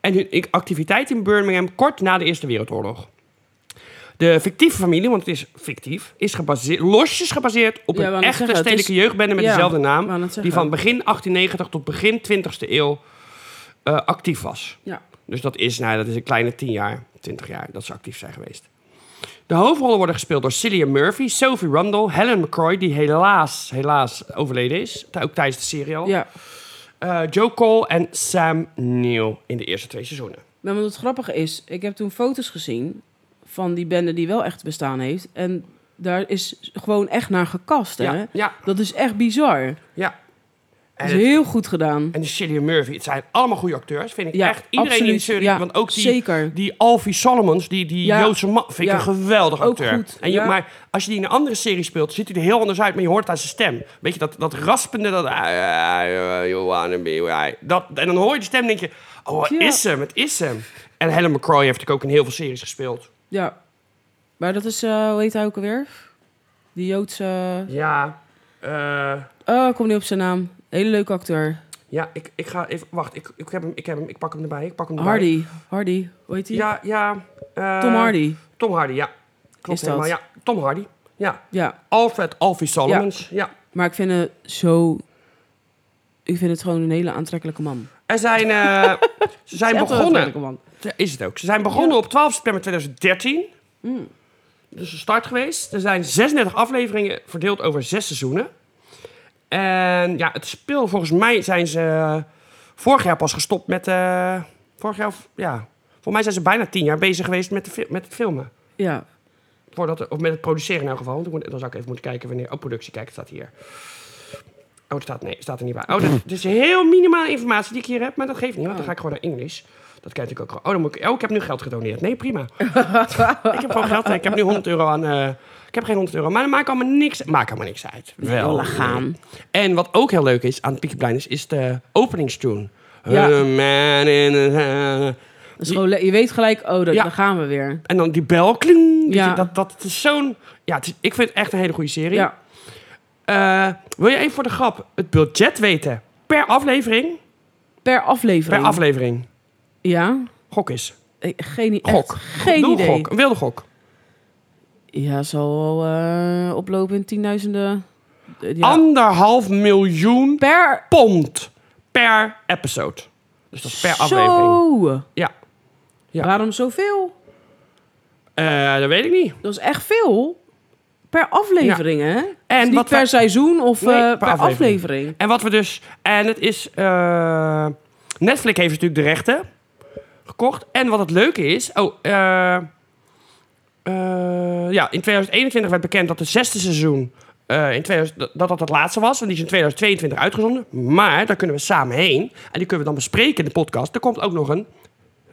En hun i- activiteit in Birmingham kort na de Eerste Wereldoorlog. De fictieve familie, want het is fictief, is gebaseerd, losjes gebaseerd op Ja, wou een net echte zeggen, het stedelijke jeugdbende met ja, dezelfde wou naam. net Die zeggen. van begin 1890 tot begin 20e eeuw eh, actief was. Ja. Dus dat is, nou, dat is een kleine 10 jaar, 20 jaar dat ze actief zijn geweest. De hoofdrollen worden gespeeld door Cillian Murphy, Sophie Rundle, Helen McCroy, die helaas, helaas overleden is. t- Ook tijdens de serie al. Ja, Eh, Joe Cole en Sam Neill in de eerste twee seizoenen. maar wat het grappige is, ik heb toen foto's gezien van die bende die wel echt bestaan heeft. En daar is gewoon echt naar gekast, hè? Ja, ja, Dat is echt bizar. ja. En, Dat is het- heel goed gedaan. en de Cillian Murphy, het zijn allemaal goede acteurs, vind ik Ja, echt. Iedereen in de absoluut. serie, Ja, want ook die, Zeker. die Alfie Solomons, die, die Ja. Joodse man, vind ik Ja. een geweldig Ook acteur. goed, en je, ja. Maar als je die in een andere serie speelt, ziet hij er heel anders uit, maar je hoort aan zijn stem. Weet je, dat, dat raspende, dat... "Ah, You wanna be right. dat en dan hoor je de stem en denk je, oh, het Ja. is hem, het is hem. En Helen McCroy heeft natuurlijk ook in heel veel series gespeeld. Ja. Maar dat is, eh, hoe heet hij ook alweer? Die Joodse... Ja, eh, Oh, ik kom niet op zijn naam. Hele leuke acteur. ja ik, ik ga even... Wacht, ik, ik heb hem, ik heb hem, ik pak hem erbij, ik pak hem erbij. Hardy. Hardy. Hoe heet hij? Ja, ja. eh, Tom Hardy. Tom Hardy, ja. Klopt Is dat? helemaal, ja. Tom Hardy, ja. Ja. Alfred Alfie Solomons, ja. Maar ik vind het zo... Ik vind het gewoon een hele aantrekkelijke man. Er zijn, eh, ze zijn Echt een begonnen. aantrekkelijke man. Ja, Is het ook. Ze zijn begonnen op 12 september 2013. Dus de start geweest. Er zijn 36 afleveringen verdeeld over zes seizoenen. En ja, het speel, volgens mij zijn ze eh, vorig jaar pas gestopt met. eh, vorig jaar, of- ja. Volgens mij zijn ze bijna tien jaar bezig geweest met, de, fil- met het filmen. Ja. Voordat, er- of met het produceren in elk geval. Want ik moet- dan zou ik even moeten kijken wanneer. Oh, productie, kijk, het staat hier. Oh, het staat, nee, het staat er niet bij. Oh, dat, het is heel minimale informatie die ik hier heb, maar dat geeft niet, want dan ga ik gewoon naar Engels. Dat kijk ik ook gewoon. Oh, dan moet ik, oh, ik heb nu geld gedoneerd. Nee, prima. ik heb gewoon geld. Ik heb nu 100 euro aan. eh, ik heb geen 100 euro, maar dat maakt allemaal niks, maakt allemaal niks uit. Wel. Laat gaan. En wat ook heel leuk is aan Peaky Blinders is de openingstune. Ja. The man in the- Dat is Dus gewoon le- je weet gelijk, oh, dat, Ja. daar gaan we weer. En dan die bel, kling. weet je, Ja. Dat, dat het is zo'n... Ja, het is- ik vind het echt een hele goede serie. Ja. Eh, wil je even voor de grap het budget weten? Per aflevering? Per aflevering. Per aflevering. Ja. Gok is. Eh, Geen, echt Gok. geen Doe een idee. gok. Een wilde gok. Ja, zal wel eh, oplopen in tienduizenden... eh, ja. Anderhalf miljoen per pond per episode. Dus dat is per Zo. aflevering. Ja. Ja. Waarom zoveel? Eh, dat weet ik niet. Dat is echt veel. Per aflevering, hè? En En niet wat per wij- seizoen of Nee, eh, per per, aflevering. aflevering. En wat we dus. En het is. eh, Netflix heeft natuurlijk de rechten gekocht. En wat het leuke is. Oh, eh, eh, ja, in 2021 werd bekend dat het zesde seizoen. eh, in 2000, dat- dat dat het laatste was. En die is in 2022 uitgezonden. Maar daar kunnen we samen heen. En die kunnen we dan bespreken in de podcast. Er komt ook nog een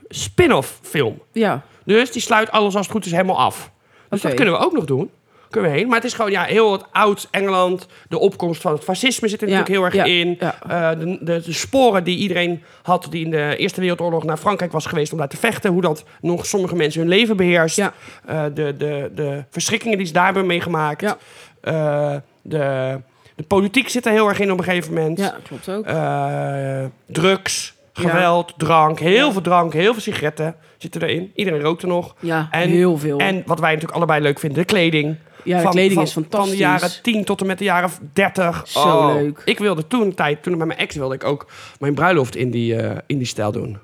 spin-off film. Ja, Dus die sluit alles als het goed is helemaal af. Dus dat Oké. kunnen we ook nog doen. Kunnen we heen. Maar het is gewoon ja, heel het oud Engeland. De opkomst van het fascisme zit er Ja, natuurlijk heel erg ja, in. ja. Eh, de, de, de sporen die iedereen had die in de Eerste Wereldoorlog naar Frankrijk was geweest om daar te vechten. Hoe dat nog sommige mensen hun leven beheerst. Ja. Eh, de, de, de verschrikkingen die ze daar hebben meegemaakt. Ja. Eh, de, de politiek zit er heel erg in op een gegeven moment. ja klopt ook. Eh, drugs, geweld, drank. Heel veel drank, heel veel sigaretten zitten erin. Iedereen rookte nog. ja, heel veel. En wat wij natuurlijk allebei leuk vinden, de kleding. ja, de kleding is fantastisch. Van de jaren 10 tot en met de jaren 30. Zo leuk. Ik wilde toen, tijd, toen ik met mijn ex wilde ik ook mijn bruiloft in die, eh, in die stijl doen.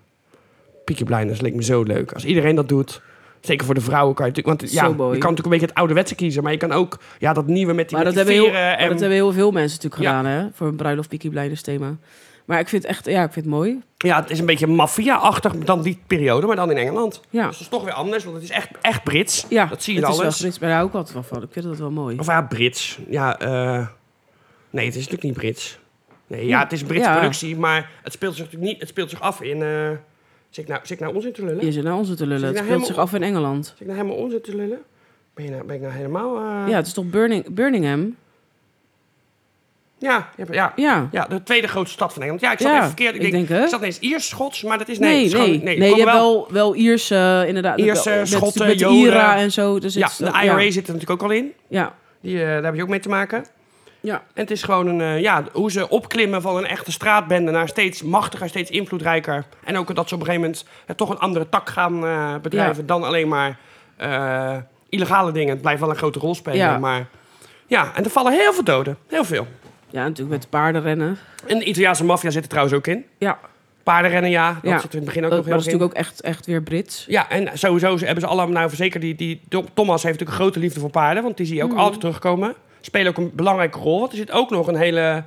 Peaky Blinders leek me zo leuk. Als iedereen dat doet, zeker voor de vrouwen kan je natuurlijk... Want ja, Zo je kan mooi. natuurlijk een beetje het ouderwetse kiezen, maar je kan ook ja, dat nieuwe met die, maar dat, met die hebben heel, veren maar en- dat hebben heel veel mensen natuurlijk Ja. gedaan, hè? Voor een bruiloft Peaky Blinders thema. Maar ik vind het echt, ja, ik vind het mooi. Ja, het is een beetje maffia-achtig dan die periode, maar dan in Engeland. Ja, Dus dat is toch weer anders, want het is echt, echt Brits. ja dat zie je het alles. is wel Brits, maar daar hou ik altijd wel van. Ik vind dat wel mooi. Of ja, Brits. Ja, eh, nee, het is natuurlijk niet Brits. Nee, ja, het is een Britse Ja. productie, maar het speelt zich natuurlijk niet... Het speelt zich af in... eh, zit, ik nou, zit ik nou onzin te lullen? Je zit naar ons te lullen. Zit Het je nou speelt zich helemaal- af in Engeland. Zit ik nou helemaal onzin te lullen? Ben, je nou, ben ik nou helemaal... eh, Ja, het is toch Burning, Birmingham? Ja, ja, ja. Ja. Ja, de tweede grootste stad van Engeland. Ja, ik zat Ja, even verkeerd. Ik, ik denk, denk, hè? ik zat ineens Iers-Schots, maar dat is... Nee, Nee, het nee. is gewoon- Nee, nee, er komen je hebt wel- wel, wel Ierse, inderdaad. Ierse, met, Schotten, met de Joden. Ira en zo. Dus Ja, het, de IRA Ja. zit er natuurlijk ook al in. ja. Die, eh, daar heb je ook mee te maken. Ja. En het is gewoon een, eh, ja, hoe ze opklimmen van een echte straatbende naar steeds machtiger, steeds invloedrijker. En ook dat ze op een gegeven moment eh, toch een andere tak gaan eh, bedrijven dan alleen maar eh, illegale dingen. Het blijft wel een grote rol spelen. Ja. Maar ja, en er vallen heel veel doden. Heel veel. Ja, natuurlijk met paardenrennen. En de Italiaanse maffia zit er trouwens ook in. Ja, dat, Paardenrennen, ja. Dat Ja. zit er in het begin ook maar nog dat is heel erg in. natuurlijk ook echt, echt weer Brits. Ja, en sowieso hebben ze allemaal, nou zeker die, die Dom- Thomas heeft natuurlijk een grote liefde voor paarden, want die zie je Mhm. ook altijd terugkomen. Spelen ook een belangrijke rol, want er zit ook nog een hele,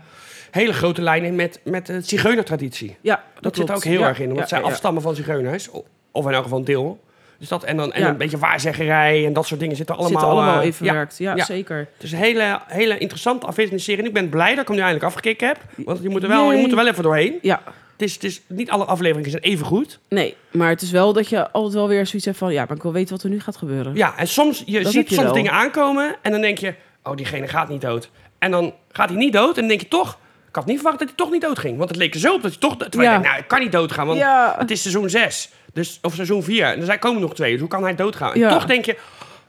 hele grote lijn in met, met de zigeunertraditie. Ja, Dat, dat, zit er klopt. ook heel Ja, erg in, want ja, zij ja, ja. afstammen van zigeuners, o- of in elk geval een deel. Dus dat, en dan en Ja. een beetje waarzeggerij en dat soort dingen zitten allemaal, Zitten allemaal eh, in verwerkt. Ja, ja. zeker. Het is een hele, hele interessante afwisselende serie en ik ben blij dat ik hem nu eindelijk afgekikt heb, want je moet er wel, je Yay. moet er wel even doorheen. Ja, Het is, het is, niet alle afleveringen zijn even goed. nee. Maar het is wel dat je altijd wel weer zoiets hebt van... Ja, maar ik wil weten wat er nu gaat gebeuren. Ja, en soms, je Dat ziet heb je soms wel. dingen aankomen en dan denk je, oh, diegene gaat niet dood. En dan gaat hij niet dood en dan denk je toch, ik had niet verwacht dat hij toch niet dood ging. Want het leek er zo op dat hij toch, terwijl Ja. je denkt, nou, ik kan niet doodgaan, want Ja. het is seizoen 6. Dus, of seizoen 4, en er zijn- komen nog twee, dus hoe kan hij doodgaan? En Ja. toch denk je,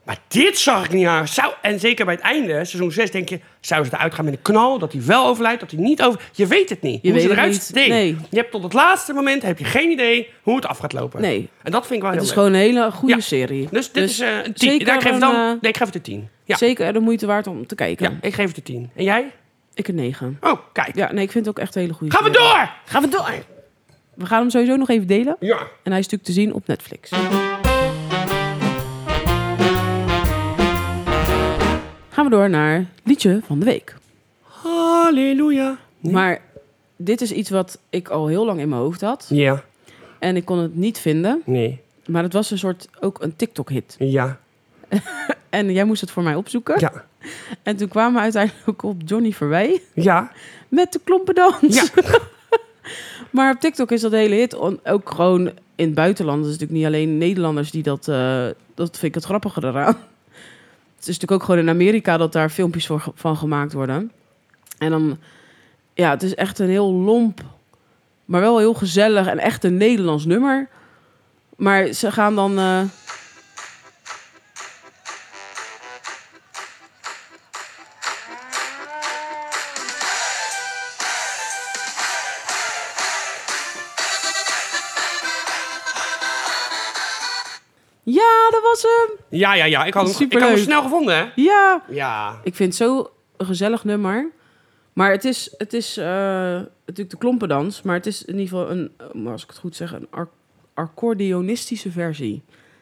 maar dit zag ik niet aan. Zou, en zeker bij het einde, seizoen 6, denk je, zou ze eruit gaan met een knal, dat hij wel overlijdt, dat hij niet over... Je weet het niet, Je hoe ze weet het eruit niet, nee. nee. Je hebt tot het laatste moment, heb je geen idee hoe het af gaat lopen. Nee. En dat vind ik wel Het heel is leuk. gewoon een hele goede Ja. serie. Dus dit is eh, een 10. zeker Ja, ik, geef het dan, een, eh, nee, ik geef het een 10. Ja. Zeker de moeite waard om te kijken. ja, ik geef het een 10. En jij? Ik een 9. Oh, kijk. Ja, nee, ik vind het ook echt een hele goede Gaan we serie. door! Gaan we door! We gaan hem sowieso nog even delen. Ja. En hij is natuurlijk te zien op Netflix. Gaan we door naar liedje van de week. Halleluja. Maar dit is iets wat ik al heel lang in mijn hoofd had. Ja. En ik kon het niet vinden. Nee. Maar het was een soort ook een TikTok-hit. Ja. En jij moest het voor mij opzoeken. Ja. En toen kwamen we uiteindelijk ook op Johnny Verwij Ja. met de klompendans. Ja. Maar op TikTok is dat de hele hit on- ook gewoon in het buitenland. Dat is natuurlijk niet alleen Nederlanders die dat... eh, dat vind ik het grappiger eraan. Het is natuurlijk ook gewoon in Amerika dat daar filmpjes voor, ge- van gemaakt worden. En dan... Ja, het is echt een heel lomp, maar wel heel gezellig en echt een Nederlands nummer. Maar ze gaan dan... eh, Ja, dat was hem! Ja, ja, ja. Ik had hem, ik had hem Superleuk. snel gevonden, hè? Ja! Ja. Ik vind het zo een gezellig nummer. Maar het is, het is eh, natuurlijk de klompendans. Maar het is in ieder geval een, eh, als ik het goed zeg, een ac- accordeonistische versie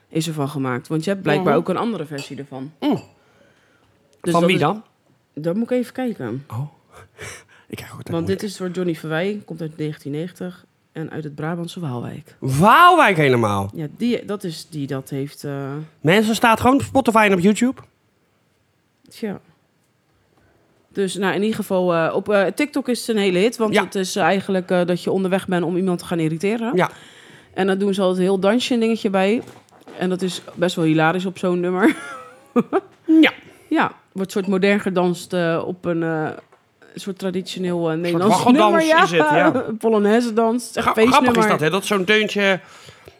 is ervan gemaakt. Want je hebt blijkbaar Mhm. ook een andere versie ervan. Mm. Dus Van dat wie is- dan? dat moet ik even kijken. Ik krijg ook Want dit is door Johnny Verwij, komt uit 1990 en uit het Brabantse Waalwijk. Waalwijk helemaal. Ja, die, dat is die dat heeft. eh, Mensen, staat gewoon op Spotify en op YouTube. Tja. Dus nou, in ieder geval, eh, op eh, TikTok is het een hele hit. Want Ja. het is eigenlijk eh, dat je onderweg bent om iemand te gaan irriteren. Ja. En dan doen ze altijd heel dansje en dingetje bij. En dat is best wel hilarisch op zo'n nummer. Ja. ja, wordt soort modern gedanst eh, op een eh, soort traditioneel eh, Nederlands waggeldans nummer. Ja, is het, ja. Een Polonaise dans. Echt Gra- feestnummer. grappig is dat, hè? Dat zo'n deuntje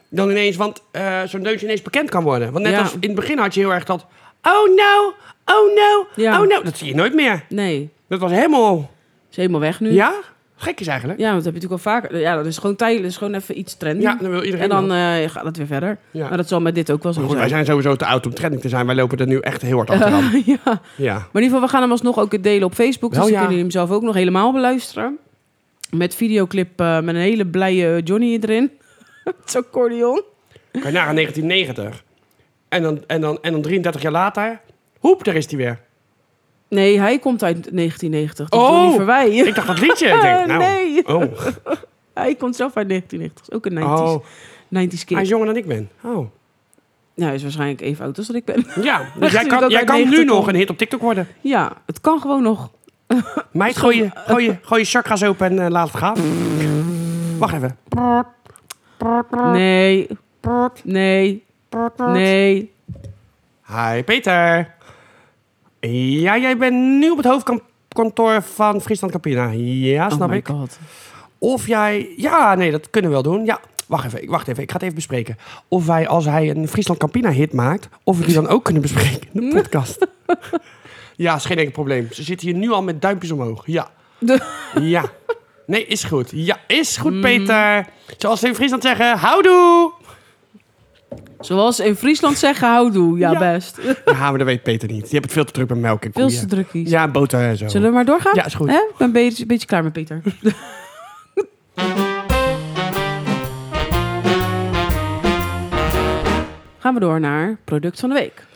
dan ineens, want eh, zo'n deuntje ineens bekend kan worden. Want net Ja. als in het begin had je heel erg dat, oh no, oh no, Ja. oh no. Dat zie je nooit meer. Nee, Dat was helemaal, is helemaal weg nu. ja, gek is eigenlijk. Hm. Ja, want dat heb je natuurlijk al vaker. Ja, dat is gewoon tijdelijk. Dat is gewoon even iets trendy. Ja, dan wil iedereen en dan dat. eh, gaat het weer verder. Ja. Maar dat zal met dit ook wel zo Maar goed, wij zijn. zijn sowieso te oud om trending te zijn. Wij lopen er nu echt heel hard achteraan. ja. Ja. Maar in ieder geval, we gaan hem alsnog ook delen op Facebook. Wel, Oh dus ja. dan kunnen jullie hem zelf ook nog helemaal beluisteren. Met videoclip eh, met een hele blije Johnny erin. Het accordeon. Kan je nagaan, 1990. En dan, en, dan, en dan 33 jaar later, hoep, daar is die weer. Nee, hij komt uit 1990. Dat Oh! Johnny Verwij. Ah, Ik dacht dat liedje. Ik denk, nou, Nee. oh, Hij komt zelf uit 1990. Is ook een 90s, oh, 90s kid. hij is jonger dan ik ben. Oh. Nou, hij is waarschijnlijk even oud als dat ik ben. Ja, dus jij Gezien dat kan, jij hij kan nu 90 nog komt. een hit op TikTok worden. ja, het kan gewoon nog. Meid, gooi je, gooi, je, gooi je chakras open en eh, laat het gaan. Wacht even. Nee. Nee. Nee. Hi Peter. Ja, jij bent nu op het hoofdkantoor van Friesland Campina. Ja, snap oh my ik. god. Of jij... Ja, nee, dat kunnen we wel doen. Ja, wacht even. ik- Wacht even. Ik ga het even bespreken. Of wij, als hij een Friesland Campina hit maakt... of we die dan ook kunnen bespreken in de podcast. ja, is geen enkel probleem. Ze zitten hier nu al met duimpjes omhoog. Ja. De- Mm. Ja. Nee, is goed. Ja, is goed, Peter. Zoals ze in Friesland zeggen, houdoe. Zoals in Friesland zeggen, houdoe. Ja, Ja. best. Ja, maar dat weet Peter niet. Je hebt het veel te druk met melk en Veel te koeien. drukkies. Ja, boter en zo. Zullen we maar doorgaan? Ja, is goed. Hè? Ik ben een beetje, beetje klaar met Peter. Gaan we door naar product van de week.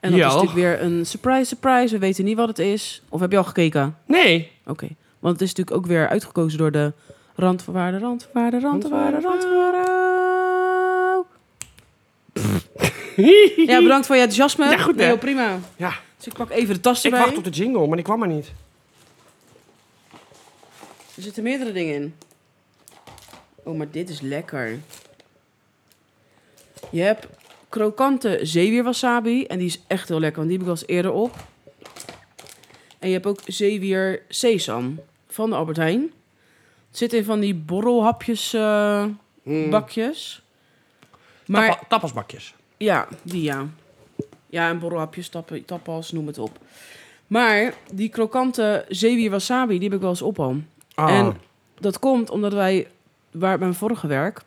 En dat Ja. is natuurlijk weer een surprise, surprise. We weten niet wat het is. Of heb je al gekeken? Nee. Oké. Want het is natuurlijk ook weer uitgekozen door de randvoorwaarde, randvoorwaarde, randvoorwaarde, randvoorwaarde. Ja, bedankt voor je enthousiasme. Ja, goed, hè? Heel prima. Ja, Dus ik pak even de tas ik erbij. wacht op de jingle, maar die kwam maar niet. Er zitten meerdere dingen in. Oh, maar dit is lekker. Je hebt krokante zeewierwasabi. En die is echt heel lekker, want die heb ik al eens eerder op. En je hebt ook zeewier sesam van de Albert Heijn. Het zit in van die borrelhapjes eh, bakjes. Maar Tappa- Tapasbakjes. ja, die ja. Ja, en borrelhapjes, tappen- tapas, noem het op. Maar die krokante zeewier wasabi, die heb ik wel eens op al. Ah. En dat komt omdat wij, waar mijn vorige werk,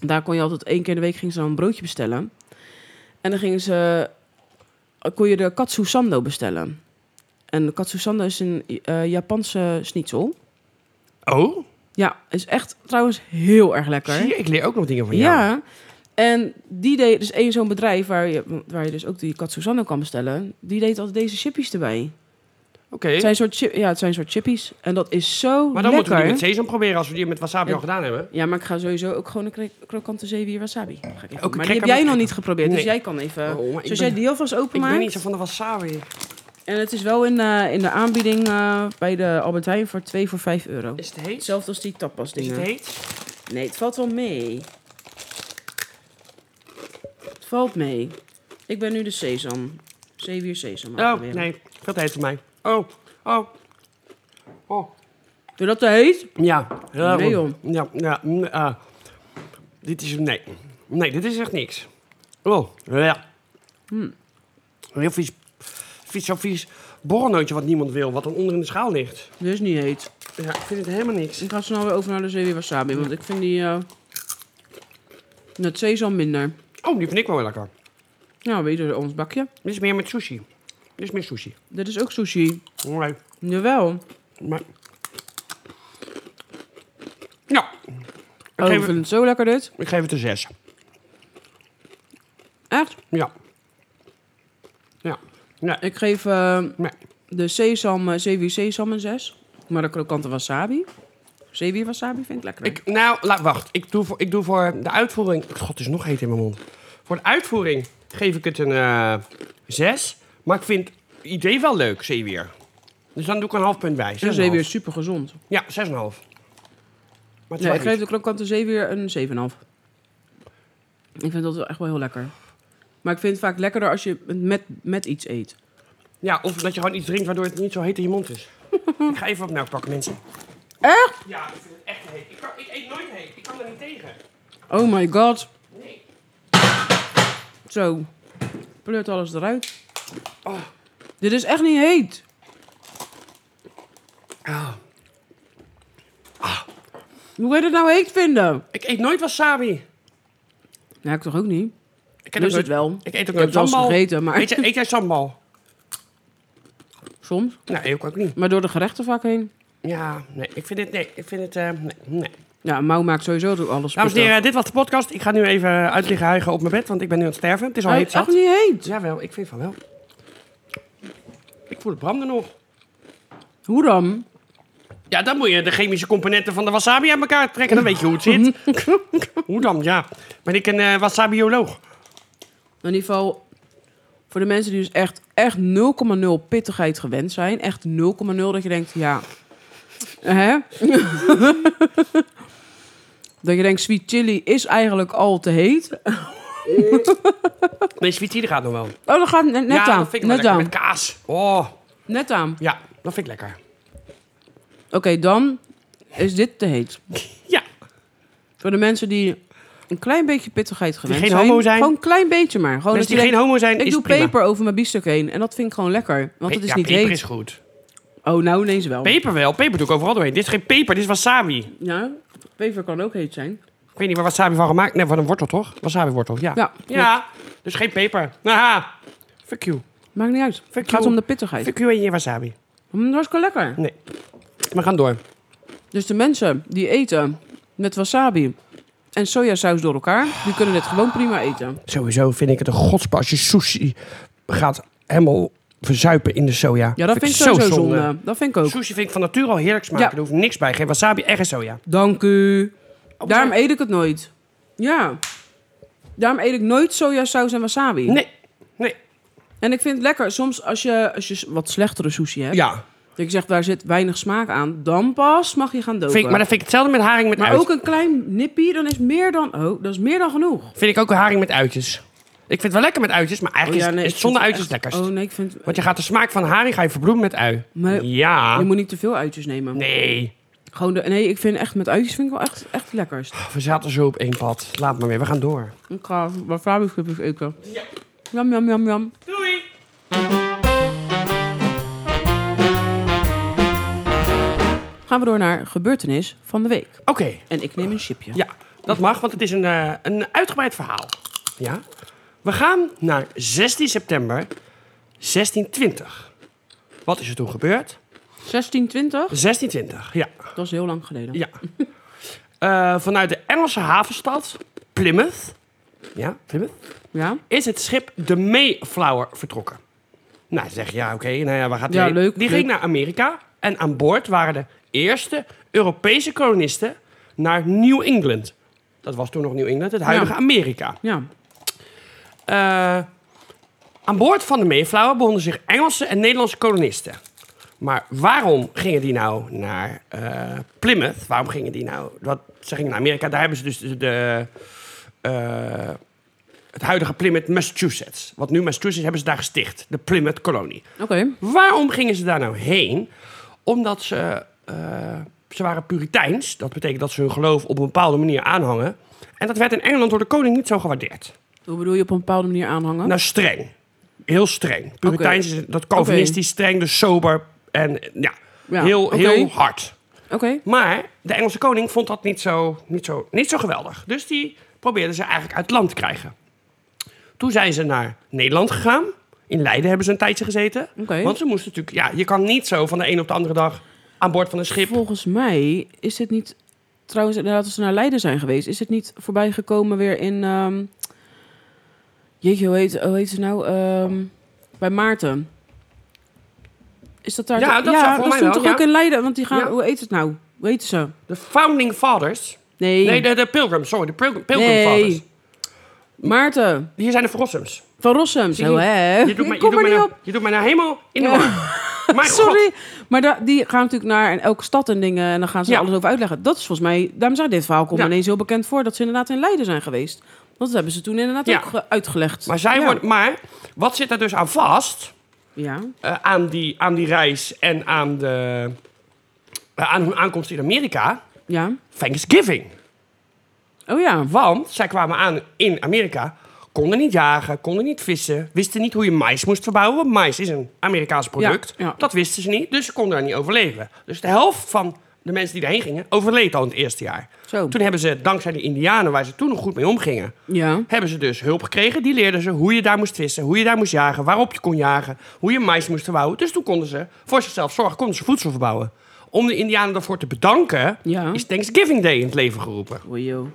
daar kon je altijd één keer in de week gingen ze dan een broodje bestellen. En dan gingen ze, kon je de katsu sando bestellen. En de katsu sando is een eh, Japanse schnitzel. Oh, Ja, is echt trouwens heel erg lekker. zie je, ik leer ook nog dingen van jou. Ja. En die deed dus één zo'n bedrijf waar je, waar je dus ook die Katsusanne kan bestellen. Die deed altijd deze chippies erbij. Oké, Het zijn soort chip, ja, het zijn soort chippies. En dat is zo maar dan moeten lekker. we die met sesam proberen als we die met wasabi Ja. al gedaan hebben. ja, maar ik ga sowieso ook gewoon een kre- krokante zeewier wasabi. Ga ik even Ook doen. een maar die heb cracker jij met nog niet cracker. geprobeerd, dus Nee. jij kan even... Oh, maar ik zoals ben- jij die alvast Ik ben openmaakt. niet zo van de wasabi. En het is wel in, eh, in de aanbieding eh, bij de Albert Heijn voor 2 voor 5 euro. Is het heet? Hetzelfde als die tapas Is dingen. het heet? Nee, het valt wel mee. Het valt mee. Ik ben nu de sesam. Zeewier sesam. Oh, aanproberen. nee. Veel te heet voor mij. Oh, oh. Oh. Vind je dat te heet? Ja. ja, Nee, goed. Ja, ja. mm, ah. dit is... Nee. Nee, dit is echt niks. Oh, ja. Hmm. Heel vies. Vies, zo vies borrelnootje wat niemand wil, wat dan onder in de schaal ligt. Dit is niet heet. Ja, ik vind het helemaal niks. Ik ga snel weer over naar de zeewier wasabi. Want ik vind die... eh, net sesam minder. Oh, die vind ik wel heel lekker. Nou, weet je, ons bakje. Dit is meer met sushi. Dit is meer sushi. Dit is ook sushi. Nee, Jawel. maar... Nou, ik Oh, geef, ik vind het, het zo lekker dit. ik geef het een zes. Echt. Ja. Ja. Nee. Ik geef eh, Nee. de sesam, eh, zeewier sesam een 6. Maar de krokante wasabi. Zeewier wasabi vind ik lekker. Ik, nou, laat, wacht. Ik doe, voor, ik doe voor de uitvoering... God, het is nog heet in mijn mond. Voor de uitvoering geef ik het een eh, zes. Maar ik vind het idee wel leuk, zeewier. Dus dan doe ik een half punt bij. de Zes zeewier is super gezond. Ja, zes en een half. Maar het Nee, is ik wel geef iets. de krokante zeewier een 7,5. Ik vind dat wel echt wel heel lekker. Maar ik vind het vaak lekkerder als je het met, met iets eet. Ja, of dat je gewoon iets drinkt waardoor het niet zo heet in je mond is. ik ga even wat melk pakken, mensen. Echt? Ja, ik vind het echt heet. Ik, kan, ik eet nooit heet. Ik kan er niet tegen. Oh my god. Nee. Zo. Pleurt alles eruit. Oh. Dit is echt niet heet. Ah. Hoe wil je dit nou heet vinden? Ik eet nooit wasabi. Nou, ik toch ook niet. Ik ook Dus het nooit- wel. Ik eet ook Ik heb nooit het wel eens sambal. gegeten, maar Eet jij, eet jij sambal? soms. Nee, ik ook niet. Maar door de gerechten vaak heen. Ja, nee, ik vind dit... Nee, ik vind het... eh, nee, nee. Ja, Mouw maakt sowieso door alles. Dames en pittig. heren, dit was de podcast. Ik ga nu even uit liggen huigen op mijn bed, want ik ben nu aan het sterven. Het is al Hij heet is Eh, echt zat. niet heet. Jawel, ik vind van wel. Ik voel het branden nog. Hoe dan? Ja, dan moet je de chemische componenten van de wasabi aan elkaar trekken. Dan weet je hoe het zit. hoe dan, ja. Ben ik een eh, wasabioloog? In ieder geval, Voor de mensen die dus echt, echt 0,0 pittigheid gewend zijn. Echt 0,0 dat je denkt, ja... Hè? dat je denkt, sweet chili is eigenlijk al te heet. Nee, sweet chili gaat nog wel. Oh, dat gaat net, net ja, aan. dat vind ik wel net lekker. aan. Met kaas. Oh, Net aan. ja, dat vind ik lekker. Oké, dan is dit te heet. Oh, Ja, Voor de mensen die een klein beetje pittigheid gewend geen zijn. homo zijn. Gewoon een klein beetje maar. Gewoon mensen dat je die geen denkt, homo zijn, ik is doe prima. peper over mijn biefstuk heen. En dat vind ik gewoon lekker. Want het is ja, niet peper heet. is goed. Oh, nou ineens wel. Peper wel. Peper doe ik overal doorheen. Dit is geen peper, dit is wasabi. Ja, peper kan ook heet zijn. Ik weet niet waar wasabi van gemaakt. Nee, van een wortel toch? Wasabi wortel, ja. Ja, Ja, dus geen peper. Haha. Fuck you. Maakt niet uit. Fuck het gaat you. om de pittigheid. Fuck you en je wasabi. Mm, dat is gewoon lekker. Nee. We gaan door. Dus de mensen die eten met wasabi en sojasaus door elkaar, die kunnen dit gewoon prima eten. Sowieso vind ik het een godspa als je sushi gaat helemaal verzuipen in de soja. Ja, dat vind ik sowieso zonde. Dat vind ik ook. Sushi vind ik van nature al heerlijk smaken. Ja. Er hoeft niks bij. Geen wasabi en geen soja. Dank u. Oh, Daarom eet ik het nooit. Ja. Daarom eet ik nooit sojasaus en wasabi. Nee. Nee. En ik vind het lekker. Soms als je, als je wat slechtere sushi hebt. Ja. Dat ik zeg, daar zit weinig smaak aan. Dan pas mag je gaan dopen. Vind ik, maar dat vind ik hetzelfde met haring met Maar uitjes. ook een klein nippie, dan is meer dan... Oh, dat is meer dan genoeg. Vind ik ook een haring met uitjes. Ik vind het wel lekker met uitjes, maar Oh, eigenlijk ja, is- nee, is ik het zonder vind uitjes echt- lekkerst. Oh nee, ik vind... Want je gaat de smaak van haring ga je verbloemen met ui. Maar- ja. Je moet niet te veel uitjes nemen. Ah. Nee. Gewoon de, nee, ik vind echt met uitjes vind ik wel echt, echt het lekkerst. We zaten zo op één pad. Laat maar weer, we gaan door. Ik ga wasabi stukjes eten. Jam, jam, jam, jam. Doei. Gaan we door naar gebeurtenis van de week. Oké, En ik neem een chipje. ja, dat mag, want het is een, eh, een uitgebreid verhaal. Ja? We gaan naar 16 september 1620. Wat is er toen gebeurd? 1620? 1620, ja. Dat is heel lang geleden. Dus- Ja. Eh, vanuit de Engelse havenstad Plymouth. Ja, Plymouth. Ja? Is het schip de Mayflower vertrokken. Nou, ze zeggen ja, oké, nou ja, waar gaat die Ja, heen? leuk, Die leuk. ging naar Amerika. En aan boord waren de eerste Europese kolonisten naar New England. Dat was toen nog New England, het huidige Ja. Amerika. Ja. Eh, aan boord van de Mayflower bevonden zich Engelse en Nederlandse kolonisten. Maar waarom gingen die nou naar eh, Plymouth? Waarom gingen die nou... Wat, ze gingen naar Amerika. Daar hebben ze dus de, de, eh, het huidige Plymouth, Massachusetts. Wat nu Massachusetts hebben ze daar gesticht. De Plymouth-kolonie. Oké. Waarom gingen ze daar nou heen? Omdat ze... eh, ze waren puriteins. Dat betekent dat ze hun geloof op een bepaalde manier aanhangen. En dat werd in Engeland door de koning niet zo gewaardeerd. Hoe bedoel je op een bepaalde manier aanhangen? Nou, streng. Heel streng. Puriteins is dat Calvinistisch, streng, dus sober en ja, Ja, heel, oké. heel hard. Oké. Maar de Engelse koning vond dat niet zo, niet, zo, niet zo geweldig. Dus die probeerde ze eigenlijk uit het land te krijgen. Toen zijn ze naar Nederland gegaan. In Leiden hebben ze een tijdje gezeten. Oké. Want ze moesten natuurlijk... Ja, je kan niet zo van de een op de andere dag aan boord van een schip... Volgens mij is dit niet... Trouwens, nou, inderdaad, als ze naar Leiden zijn geweest... is het niet voorbijgekomen weer in... ehm, Jeetje, hoe heet, hoe heet ze nou? Ehm, bij Maarten. Is dat daar... Ja, dat zou ja, voor mij stond wel, toch ja. ook in Leiden? Want die gaan... Ja. Hoe heet het nou? Hoe heet ze? De Founding Fathers... Nee. Nee, de, de Pilgrims, sorry. De Pilgrim, Pilgrim Nee. Fathers. Maarten. Hier zijn de Verrossums. Van Rossum. Zo, hè? Je doet Ik mij, je kom doet er mij niet nou- op. Je doet mij nou helemaal in de war. Maar Sorry. Maar da- die gaan natuurlijk naar en elke stad en dingen. En dan gaan ze Ja. alles over uitleggen. Dat is volgens mij... Daarom zei dit verhaal komt Ja. me ineens heel bekend voor. Dat ze inderdaad in Leiden zijn geweest. Want dat hebben ze toen inderdaad Ja. ook ge- uitgelegd. maar, zij ja. wordt, maar wat zit er dus aan vast? Ja. eh, aan, die, aan die reis en aan, de, eh, aan hun aankomst in Amerika? Ja. Thanksgiving. Oh ja. Want zij kwamen aan in Amerika, konden niet jagen, konden niet vissen, wisten niet hoe je mais moest verbouwen. Want mais is een Amerikaans product. Ja, ja. Dat wisten ze niet, dus ze konden daar niet overleven. Dus de helft van de mensen die daarheen gingen, overleed al in het eerste jaar. Zo. Toen hebben ze, dankzij de Indianen, waar ze toen nog goed mee omgingen, Ja. hebben ze dus hulp gekregen. Die leerden ze hoe je daar moest vissen, hoe je daar moest jagen, waarop je kon jagen, hoe je mais moest verbouwen. Dus toen konden ze voor zichzelf zorgen, konden ze voedsel verbouwen. Om de Indianen daarvoor te bedanken, Ja. is Thanksgiving Day in het leven geroepen. Oei, joh.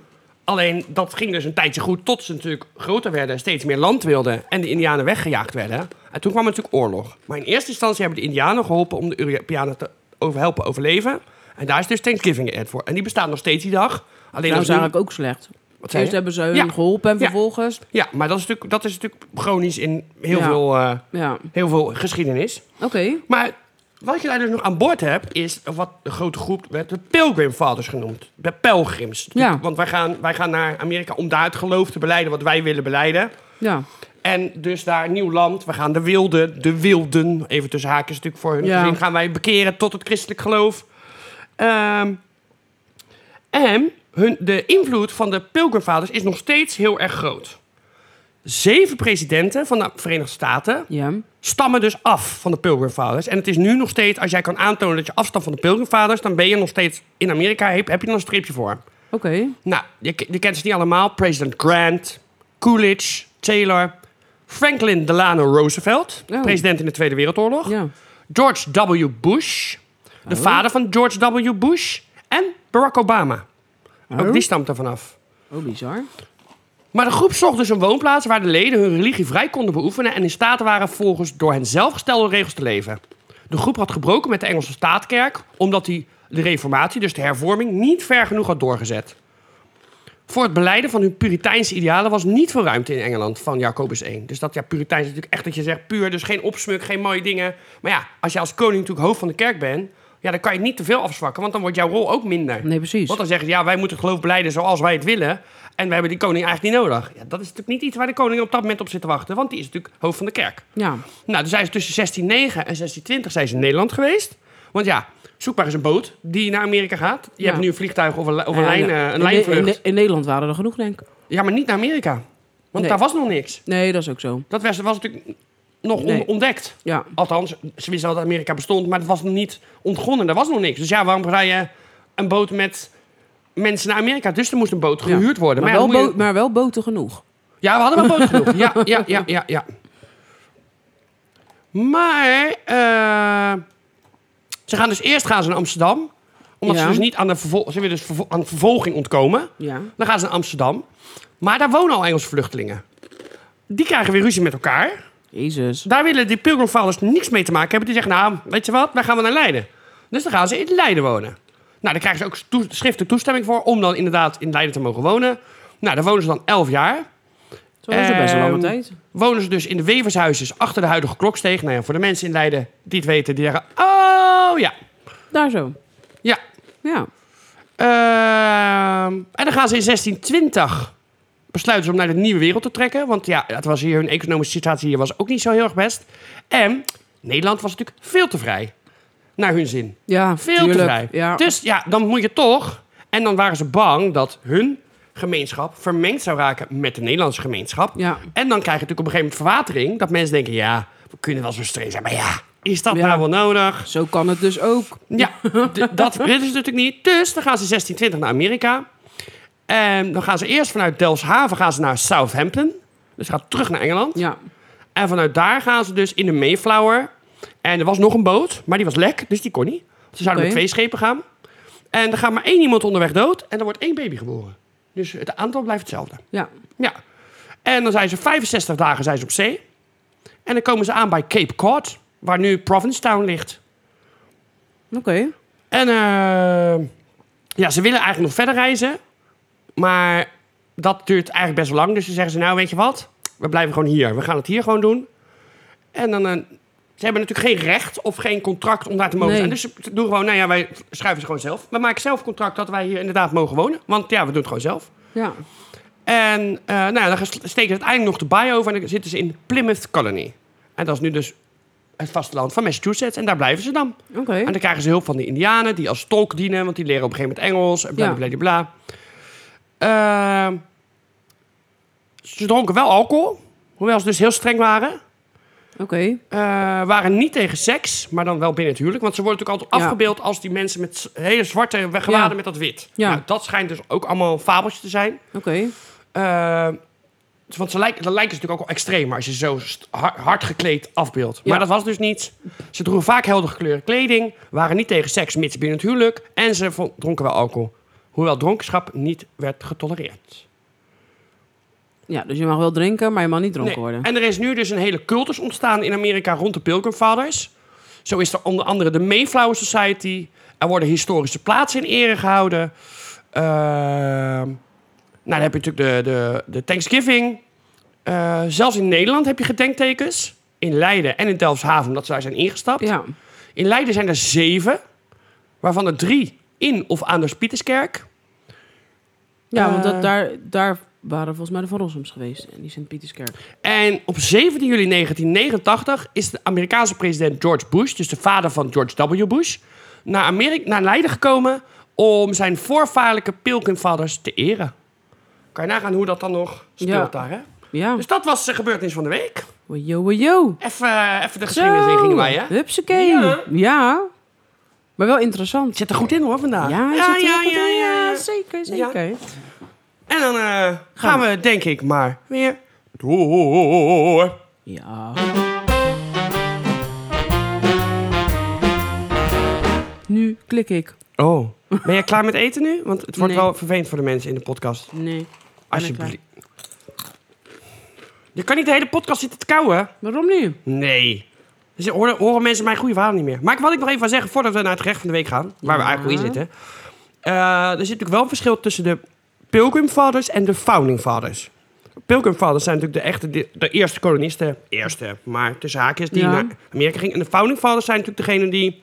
Alleen dat ging dus een tijdje goed, tot ze natuurlijk groter werden en steeds meer land wilden en de Indianen weggejaagd werden. En toen kwam er natuurlijk oorlog. Maar in eerste instantie hebben de Indianen geholpen om de Europeanen te over helpen overleven. En daar is dus Thanksgiving Day voor. En die bestaat nog steeds die dag. Alleen Nou, als is eigenlijk ook slecht. Wat zei Eerst je? hebben ze hun Ja. geholpen en Ja. vervolgens... Ja, maar dat is natuurlijk, dat is natuurlijk chronisch in heel, Ja. veel, eh, Ja, heel veel geschiedenis. oké. Maar wat je daar dus nog aan boord hebt, is wat de grote groep werd de Pilgrim Fathers genoemd. De pelgrims. Ja. Want wij gaan, wij gaan naar Amerika om daar het geloof te beleiden wat wij willen beleiden. Ja. En dus daar een nieuw land. We gaan de wilden, de wilden, even tussen haakjes natuurlijk voor hun Ja. gezin, gaan wij bekeren tot het christelijk geloof. Ehm, en hun, de invloed van de Pilgrimvaders is nog steeds heel erg groot. Zeven presidenten van de Verenigde Staten Ja. stammen dus af van de Pilgrimvaders. En het is nu nog steeds, als jij kan aantonen dat je afstamt van de Pilgrimvaders, dan ben je nog steeds in Amerika, heb, heb je er een streepje voor. Oké. Nou, je, k- je kent ze niet allemaal. President Grant, Coolidge, Taylor, Franklin Delano Roosevelt, Oh. president in de Tweede Wereldoorlog. Ja. Oh. George W. Bush, de vader van George W. Bush. En Barack Obama. Ook die stamt er vanaf. Oh, bizar. Maar de groep zocht dus een woonplaats waar de leden hun religie vrij konden beoefenen en in staat waren volgens door hen zelf gestelde regels te leven. De groep had gebroken met de Engelse staatkerk omdat die de reformatie, dus de hervorming, niet ver genoeg had doorgezet. Voor het beleiden van hun Puriteinse idealen was niet veel ruimte in Engeland van Jacobus 1. Dus dat ja, Puriteins is natuurlijk echt dat je zegt puur, dus geen opsmuk, geen mooie dingen. Maar ja, als je als koning natuurlijk hoofd van de kerk bent, ja, dan kan je het niet te veel afzwakken, want dan wordt jouw rol ook minder. Nee, precies. Want dan zeggen ze, ja, wij moeten het geloof beleiden zoals wij het willen. En we hebben die koning eigenlijk niet nodig. Ja, dat is natuurlijk niet iets waar de koning op dat moment op zit te wachten. Want die is natuurlijk hoofd van de kerk. Ja. Nou, toen zijn ze tussen 1609 en 1620 zijn ze in Nederland geweest. Want ja, zoek maar eens een boot die naar Amerika gaat. Je Ja. hebt nu een vliegtuig of een, li- of een, Ja, lijn, ja. eh, In een Ne- lijnvlucht. In, Ne- in Nederland waren er genoeg, denk ik. Ja, maar niet naar Amerika. Want Nee. daar was nog niks. Nee, dat is ook zo. Dat was, was natuurlijk nog on- Nee. ontdekt. Ja. Althans, ze wisten wel dat Amerika bestond, maar het was nog niet ontgonnen. Er was nog niks. Dus ja, waarom rij je een boot met mensen naar Amerika? Dus er moest een boot Ja. gehuurd worden. Maar, ja, wel dan moet je- bo- maar wel boten genoeg. ja, we hadden wel boot genoeg. Ja, ja, ja, ja, ja. Maar eh, ze gaan dus eerst gaan ze naar Amsterdam. Omdat Ja. ze dus niet aan de, vervol- ze willen dus vervol- aan vervolging ontkomen. Ja. Dan gaan ze naar Amsterdam. Maar daar wonen al Engelse vluchtelingen. Die krijgen weer ruzie met elkaar. Jezus. Daar willen die pilgrimfathers niks mee te maken hebben. Die zeggen, nou, weet je wat, wij gaan wel naar Leiden. Dus dan gaan ze in Leiden wonen. Nou, daar krijgen ze ook toe- schriftelijk toestemming voor... om dan inderdaad in Leiden te mogen wonen. Nou, daar wonen ze dan elf jaar. Zo was het best een lange Ehm, tijd. Wonen ze dus in de wevershuisjes achter de huidige kloksteeg. Nou ja, voor de mensen in Leiden die het weten, die zeggen... Oh, ja, Daar zo. ja. Ja. Ehm, en dan gaan ze in 1620 besluiten ze om naar de nieuwe wereld te trekken. Want ja, het was hier, hun economische situatie hier was ook niet zo heel erg best. En Nederland was natuurlijk veel te vrij. Naar hun zin. Ja, Veel te tuurlijk. vrij. Ja. Dus ja, dan moet je toch. En dan waren ze bang dat hun gemeenschap vermengd zou raken met de Nederlandse gemeenschap. Ja. En dan krijg je natuurlijk op een gegeven moment verwatering. Dat mensen denken, ja, we kunnen wel zo streng zijn. Maar ja, is dat Ja. nou wel nodig? Zo kan het dus ook. Ja, d- dat willen ze natuurlijk niet. Dus dan gaan ze 1620 naar Amerika. En dan gaan ze eerst vanuit Delfshaven gaan ze naar Southampton. Dus ze gaan terug naar Engeland. Ja. En vanuit daar gaan ze dus in de Mayflower. En er was nog een boot, maar die was lek, dus die kon niet. Ze zouden Oké. met twee schepen gaan. En er gaat maar één iemand onderweg dood en er wordt één baby geboren. Dus het aantal blijft hetzelfde. Ja. Ja. En dan zijn ze 65 dagen zijn ze op zee. En dan komen ze aan bij Cape Cod, waar nu Provincetown ligt. Oké. En eh, ja, ze willen eigenlijk nog verder reizen. Maar dat duurt eigenlijk best wel lang. Dus ze zeggen ze, nou weet je wat? We blijven gewoon hier. We gaan het hier gewoon doen. En dan... eh, ze hebben natuurlijk geen recht of geen contract om daar te mogen Nee. zijn. Dus ze ze doen gewoon, nou ja, wij schrijven ze gewoon zelf. We maken zelf contract dat wij hier inderdaad mogen wonen. Want ja, we doen het gewoon zelf. Ja. En eh, nou ja, dan gaan- steken ze uiteindelijk nog de baai over en dan zitten ze in Plymouth Colony. En dat is nu dus het vasteland van Massachusetts. En daar blijven ze dan. Oké. En dan krijgen ze hulp van de Indianen, die als tolk dienen, want die leren op een gegeven moment Engels en bla Ja. bla bla. bla. Ehm, ze dronken wel alcohol, hoewel ze dus heel streng waren. Oké. Eh, waren niet tegen seks, maar dan wel binnen het huwelijk. Want ze worden natuurlijk altijd Ja. afgebeeld als die mensen met z- hele zwarte gewaden Ja. met dat wit. Ja. Nou, dat schijnt dus ook allemaal een fabeltje te zijn. Oké. Eh, want ze lijken, dat lijken ze natuurlijk ook wel extreem als je ze zo st- har- hard gekleed afbeeldt. Ja. Maar dat was dus niet. Ze droegen vaak helder gekleurde kleding, waren niet tegen seks mits binnen het huwelijk en ze vo- dronken wel alcohol. Hoewel dronkenschap niet werd getolereerd. Ja, dus je mag wel drinken, maar je mag niet dronken Nee. worden. En er is nu dus een hele cultus ontstaan in Amerika rond de Pilgrim Fathers. Zo is er onder andere de Mayflower Society. Er worden historische plaatsen in ere gehouden. Ehm, Nou, dan heb je natuurlijk de, de, de Thanksgiving. Eh, zelfs in Nederland heb je gedenktekens. In Leiden en in Delfshaven, omdat ze daar zijn ingestapt. Ja. In Leiden zijn er zeven, waarvan er drie in of aan de Pieterskerk. Ja, want Eh. dat, daar, daar waren volgens mij de Van Rossums geweest, in die Sint-Pieterskerk. En op 17 juli 1989 is de Amerikaanse president George Bush, dus de vader van George W. Bush, naar, Amerika, naar Leiden gekomen om zijn voorvaarlijke Pilgrim Fathers te eren. Kan je nagaan hoe dat dan nog speelt Ja. daar, hè? Ja, Dus dat was de gebeurtenis van de week. wajo, wajo. Even, eh, even de geschiedenis in Zo, gingen wij, hè? hupsakee. Ja. Ja. maar wel interessant. Zit er goed in, hoor, vandaag. Ja, ja, ja, ja, zeker, Ja. zeker. En dan eh, gaan we, denk ik, maar weer door. Ja. Nu klik ik. Oh, ben jij klaar met eten nu? Want het wordt Nee. wel vervelend voor de mensen in de podcast. Nee. Alsjeblieft. Je kan niet de hele podcast zitten te kauwen. Waarom nu? Nee. Dus horen, horen mensen mijn goede verhaal niet meer. Maar ik- wat ik nog even wil zeggen, voordat we naar het gerecht van de week gaan, waar we Ja. eigenlijk in zitten. Eh, er zit natuurlijk wel een verschil tussen de Pilgrim Fathers en de Founding Fathers. Pilgrim Fathers zijn natuurlijk de, echte, de, de eerste kolonisten. Eerste, maar tussen haakjes, die Ja. naar Amerika gingen. En de Founding Fathers zijn natuurlijk degene die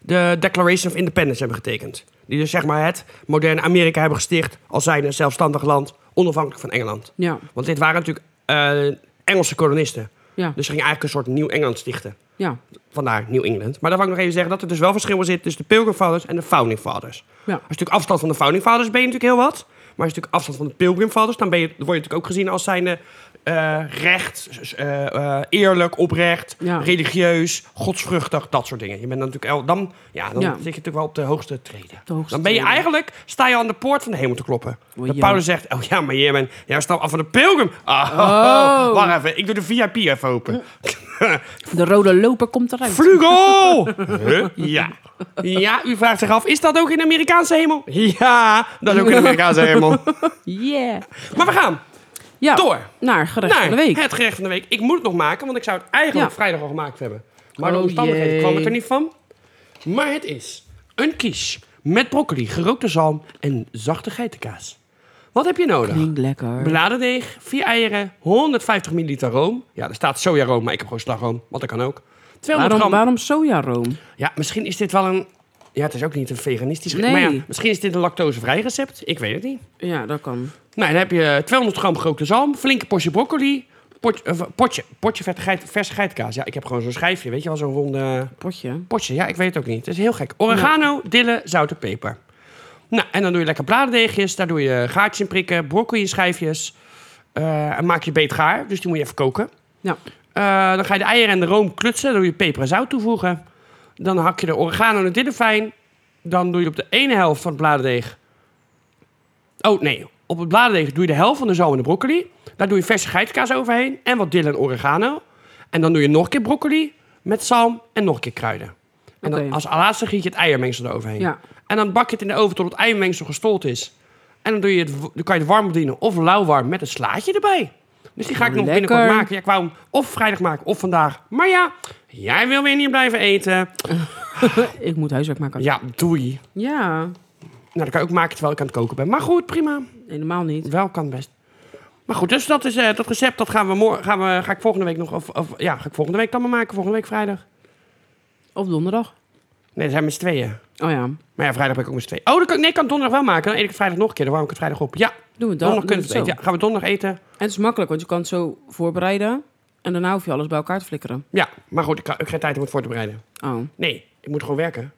de Declaration of Independence hebben getekend. Die dus zeg maar het moderne Amerika hebben gesticht als zijnde zelfstandig land, onafhankelijk van Engeland. Ja, Want dit waren natuurlijk eh, Engelse kolonisten. ja, Dus ze gingen eigenlijk een soort Nieuw-Engeland stichten. ja. Vandaar Nieuw-Engeland. Maar dan wil ik nog even zeggen dat er dus wel verschil zit tussen de Pilgrim Fathers en de Founding Fathers. Als je Ja, natuurlijk afstand van de Founding Fathers ben je natuurlijk heel wat. Maar als je natuurlijk afstand van de Pilgrim Fathers, dan ben je, word je natuurlijk ook gezien als zijnde eh, recht, eh, eh, eerlijk, oprecht, Ja. religieus, godsvruchtig, dat soort dingen. Je bent dan natuurlijk el- dan, ja, dan Ja. zit je natuurlijk wel op de hoogste treden. De hoogste dan ben je treden. eigenlijk, sta je aan de poort van de hemel te kloppen. Oei, Dat ja. Paulus zegt, oh ja, maar jij bent, jij stamt af van de Pilgrim. Ah, Oh. Wacht even, ik doe de VIP even open. de rode loper komt eruit. Vlugel! Huh? Ja. Ja, u vraagt zich af, is dat ook in de Amerikaanse hemel? Ja, dat is ook in de Amerikaanse hemel. Yeah. Maar we gaan Ja, door naar gerecht naar van de week. het gerecht van de week. Ik moet het nog maken, want ik zou het eigenlijk Ja. vrijdag al gemaakt hebben. Maar de Oh, omstandigheden jee. kwam het er niet van. Maar het is een quiche met broccoli, gerookte zalm en zachte geitenkaas. Wat heb je nodig? Klinkt lekker. Bladerdeeg, 4 eieren, 150 milliliter room. Ja, er staat sojaroom, maar ik heb gewoon slagroom, want dat kan ook. 200 Waarom, gram waarom sojaroom? ja, misschien is dit wel een. Ja, het is ook niet een veganistisch Nee. Maar ja, misschien is dit een lactosevrij recept. Ik weet het niet. Ja, dat kan. Nou, dan heb je 200 gram gerookte zalm, flinke portie broccoli, pot, eh, potje, potje vette geit, verse geitenkaas. Ja, ik heb gewoon zo'n schijfje, weet je wel, zo'n ronde Potje. potje. Ja, ik weet het ook niet. Het is heel gek. Oregano, dille, zout en peper. Nou, en dan doe je lekker bladerdeegjes. Daar doe je gaatjes in prikken, broccoli in schijfjes. Eh, en maak je beet gaar, dus die moet je even koken. Ja. Eh, dan ga je de eieren en de room klutsen. Dan doe je peper en zout toevoegen. Dan hak je de oregano en de dille fijn. Dan doe je op de ene helft van het bladerdeeg... Oh, nee. Op het bladerdeeg doe je de helft van de zalm en de broccoli. Daar doe je verse geitenkaas overheen. En wat dille en oregano. En dan doe je nog een keer broccoli met zalm en nog een keer kruiden. En dan Oké. als laatste giet je het eiermengsel eroverheen. Ja. En dan bak je het in de oven tot het eiermengsel gestold is. En dan, doe je het, dan kan je het warm bedienen of lauwwarm met een slaatje erbij. Dus die ga ik nog Lekker. binnenkort maken. Ja, ik wou hem of vrijdag maken of vandaag. Maar ja, jij wil weer niet blijven eten. Ik moet huiswerk maken. Ja, doei. Ja, Nou, dat kan ik ook maken terwijl ik aan het koken ben. Maar goed, prima. helemaal niet. Wel kan best. Maar goed, dus dat, is, eh, dat recept dat gaan we morgen, gaan we, ga ik volgende week nog, of, of ja, ga ik volgende week dan maar maken. Volgende week vrijdag. Op donderdag. Nee, dat zijn met z'n tweeën. Oh ja, Maar ja, vrijdag ben ik ook met z'n tweeën. Oh, dat kan, nee, ik kan het donderdag wel maken. Dan eet ik het vrijdag nog een keer. Dan warm ik het vrijdag op. Ja, doen we donderdag dat. Doen we kunnen het we zo. het eten. Ja, gaan we donderdag eten. En het is makkelijk, want je kan het zo voorbereiden. En daarna hoef je alles bij elkaar te flikkeren. Ja, maar goed, ik, kan- ik heb geen tijd om het voor te bereiden. Oh, Nee, ik moet gewoon werken.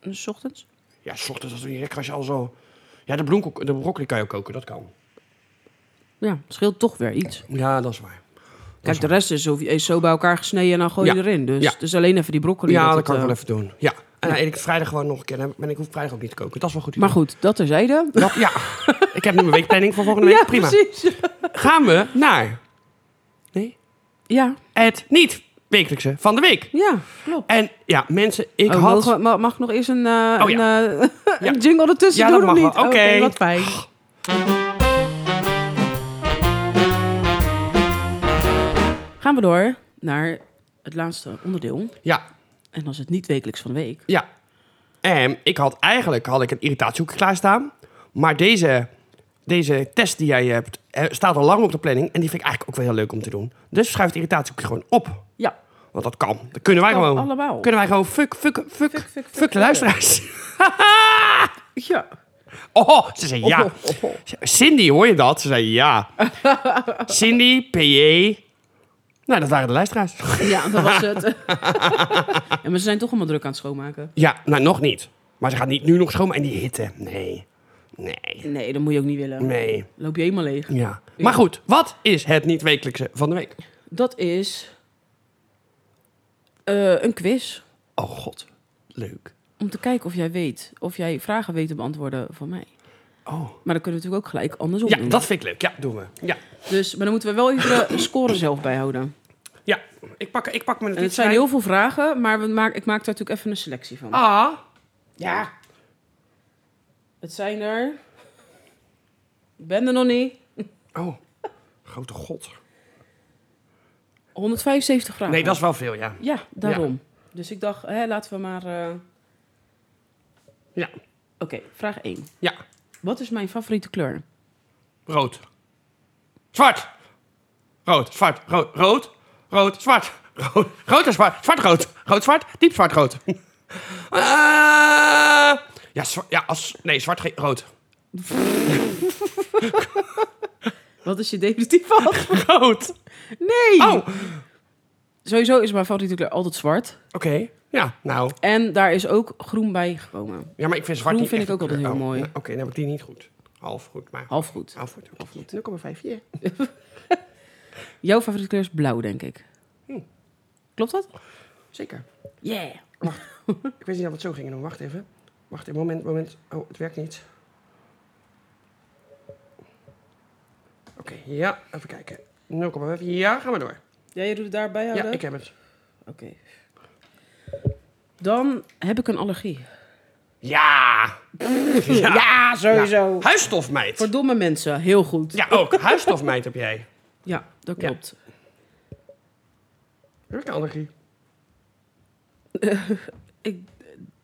dus 's ochtends? Ja, 's ochtends als je lekker als je al zo. Ja, de, bloemkoek, de broccoli kan je ook koken, dat kan. Ja, het scheelt toch weer iets. Ja, dat is waar. Kijk, de rest is, zo- is zo bij elkaar gesneden en dan gooi je Ja. erin. Dus Ja. het is alleen even die broccoli. ja, dat, het, kan ik eh, wel even doen. Ja. En dan eet ik het vrijdag gewoon nog een keer. Dan ben ik hoef ik vrijdag ook niet te koken. Dat is wel goed. Maar goed, dat terzijde. Dat, ja. ik heb nu mijn weekplanning voor volgende week. ja, Prima. precies. Gaan we naar. Nee? Ja, Het niet-wekelijkse van de week. ja, klopt. En ja, mensen, ik Oh, had. mogen we- ma- mag ik nog eerst een, eh, Oh, ja. een, eh, een Ja. jingle ertussen Ja, dat doen of mag niet? wel. Oké. wat fijn. Gaan we door naar het laatste onderdeel. Ja, En dat is het niet wekelijks van de week. ja. En ik had eigenlijk had ik een irritatiehoek klaarstaan. Maar deze, deze test die jij hebt, eh, staat al lang op de planning. En die vind ik eigenlijk ook wel heel leuk om te doen. Dus schuif de irritatie ook gewoon op. Ja. Want dat kan. Dat kunnen wij Kan gewoon. allemaal. Kunnen wij gewoon fuck, fuck, fuck, fuck, fuck, fuck, de luisteraars. Ja. Oh, ze zei ja. Cindy, hoor je dat? Ze zei ja. Cindy, PJ. Nou, dat waren de luisteraars. Ja, dat was het. en maar ze zijn toch allemaal druk aan het schoonmaken. Ja, nou nog niet. Maar ze gaat niet nu nog schoonmaken en die hitte. Nee. Nee. Nee, dat moet je ook niet willen. Nee. Loop je helemaal leeg. Ja. Maar goed, wat is het niet-wekelijkse van de week? Dat is eh, een quiz. Oh god, leuk. Om te kijken of jij weet, of jij vragen weet te beantwoorden van mij. Oh. Maar dan kunnen we natuurlijk ook gelijk andersom Ja, doen. dat vind ik leuk. Ja, doen we. Ja. Dus, maar dan moeten we wel even de score zelf bijhouden. Ja, ik pak, ik pak mijn En het zijn heel veel vragen, maar we maak, ik maak daar natuurlijk even een selectie van. Ah. Ja. Het zijn er... Ik ben er nog niet. Oh. Grote god. 175 vragen. Nee, dat is wel veel, ja. Ja, daarom. Dus ik dacht, hè, laten we maar... eh, Ja. Oké, vraag 1. Ja. Wat is mijn favoriete kleur? Rood. Zwart. Rood, zwart, rood, rood, rood, zwart. Rood, rood en zwart, zwart, rood. Rood, zwart, diep zwart, rood. Ah. ja, zwa- ja, als... Nee, zwart, geen- rood. Wat is je definitieve antwoord? Rood. Nee! Oh, oké. Sowieso is mijn favoriete kleur altijd zwart. Ja, nou. En daar is ook groen bij gekomen. Ja, maar ik vind zwart Groen niet vind echt ik ook een kleur. altijd heel mooi. nou, Oké, dan heb ik die niet goed. Half goed, maar... Half goed. Half goed. Half goed. 0,5, ja. Jouw favoriete kleur is blauw, denk ik. Hm. Klopt dat? Zeker. Yeah. Ik weet niet of het zo ging doen. Wacht even. Wacht even, moment, moment. Oh, het werkt niet. Oké, ja, even kijken. 0,5. Ja, gaan we door. Jij doet het daarbij Ja, houden? ik heb het. Oké. Dan heb ik een allergie. Ja! Ja, Nou, sowieso. Voor Huisstofmeid. domme mensen, heel goed. Ja, ook. Huisstofmeid heb jij. Ja, dat Ja. klopt. Heb ik een allergie? Ik,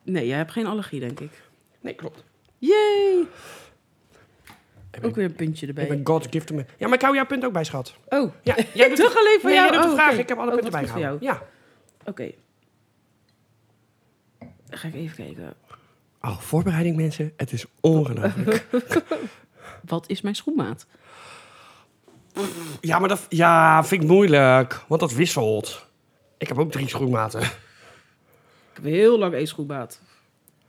nee, jij hebt geen allergie, denk ik. Nee, klopt. Yay! Heb Ook weer een puntje Ik erbij. ben God's gift to me. Ja, maar ik hou jouw punt ook bij, schat. Oh, Ja, jij doet toch alleen voor Nee, jou? jij doet de Oh, vraag. oké. Ik heb alle Oh, punten dat is goed voor bijgehouden. Ja. oké. Dan ga ik even kijken. Oh, voorbereiding mensen. Het is ongelooflijk. Wat is mijn schoenmaat? Ja, maar dat ja, vind ik moeilijk. Want dat wisselt. Ik heb ook drie schoenmaten. Ik heb heel lang één schoenmaat.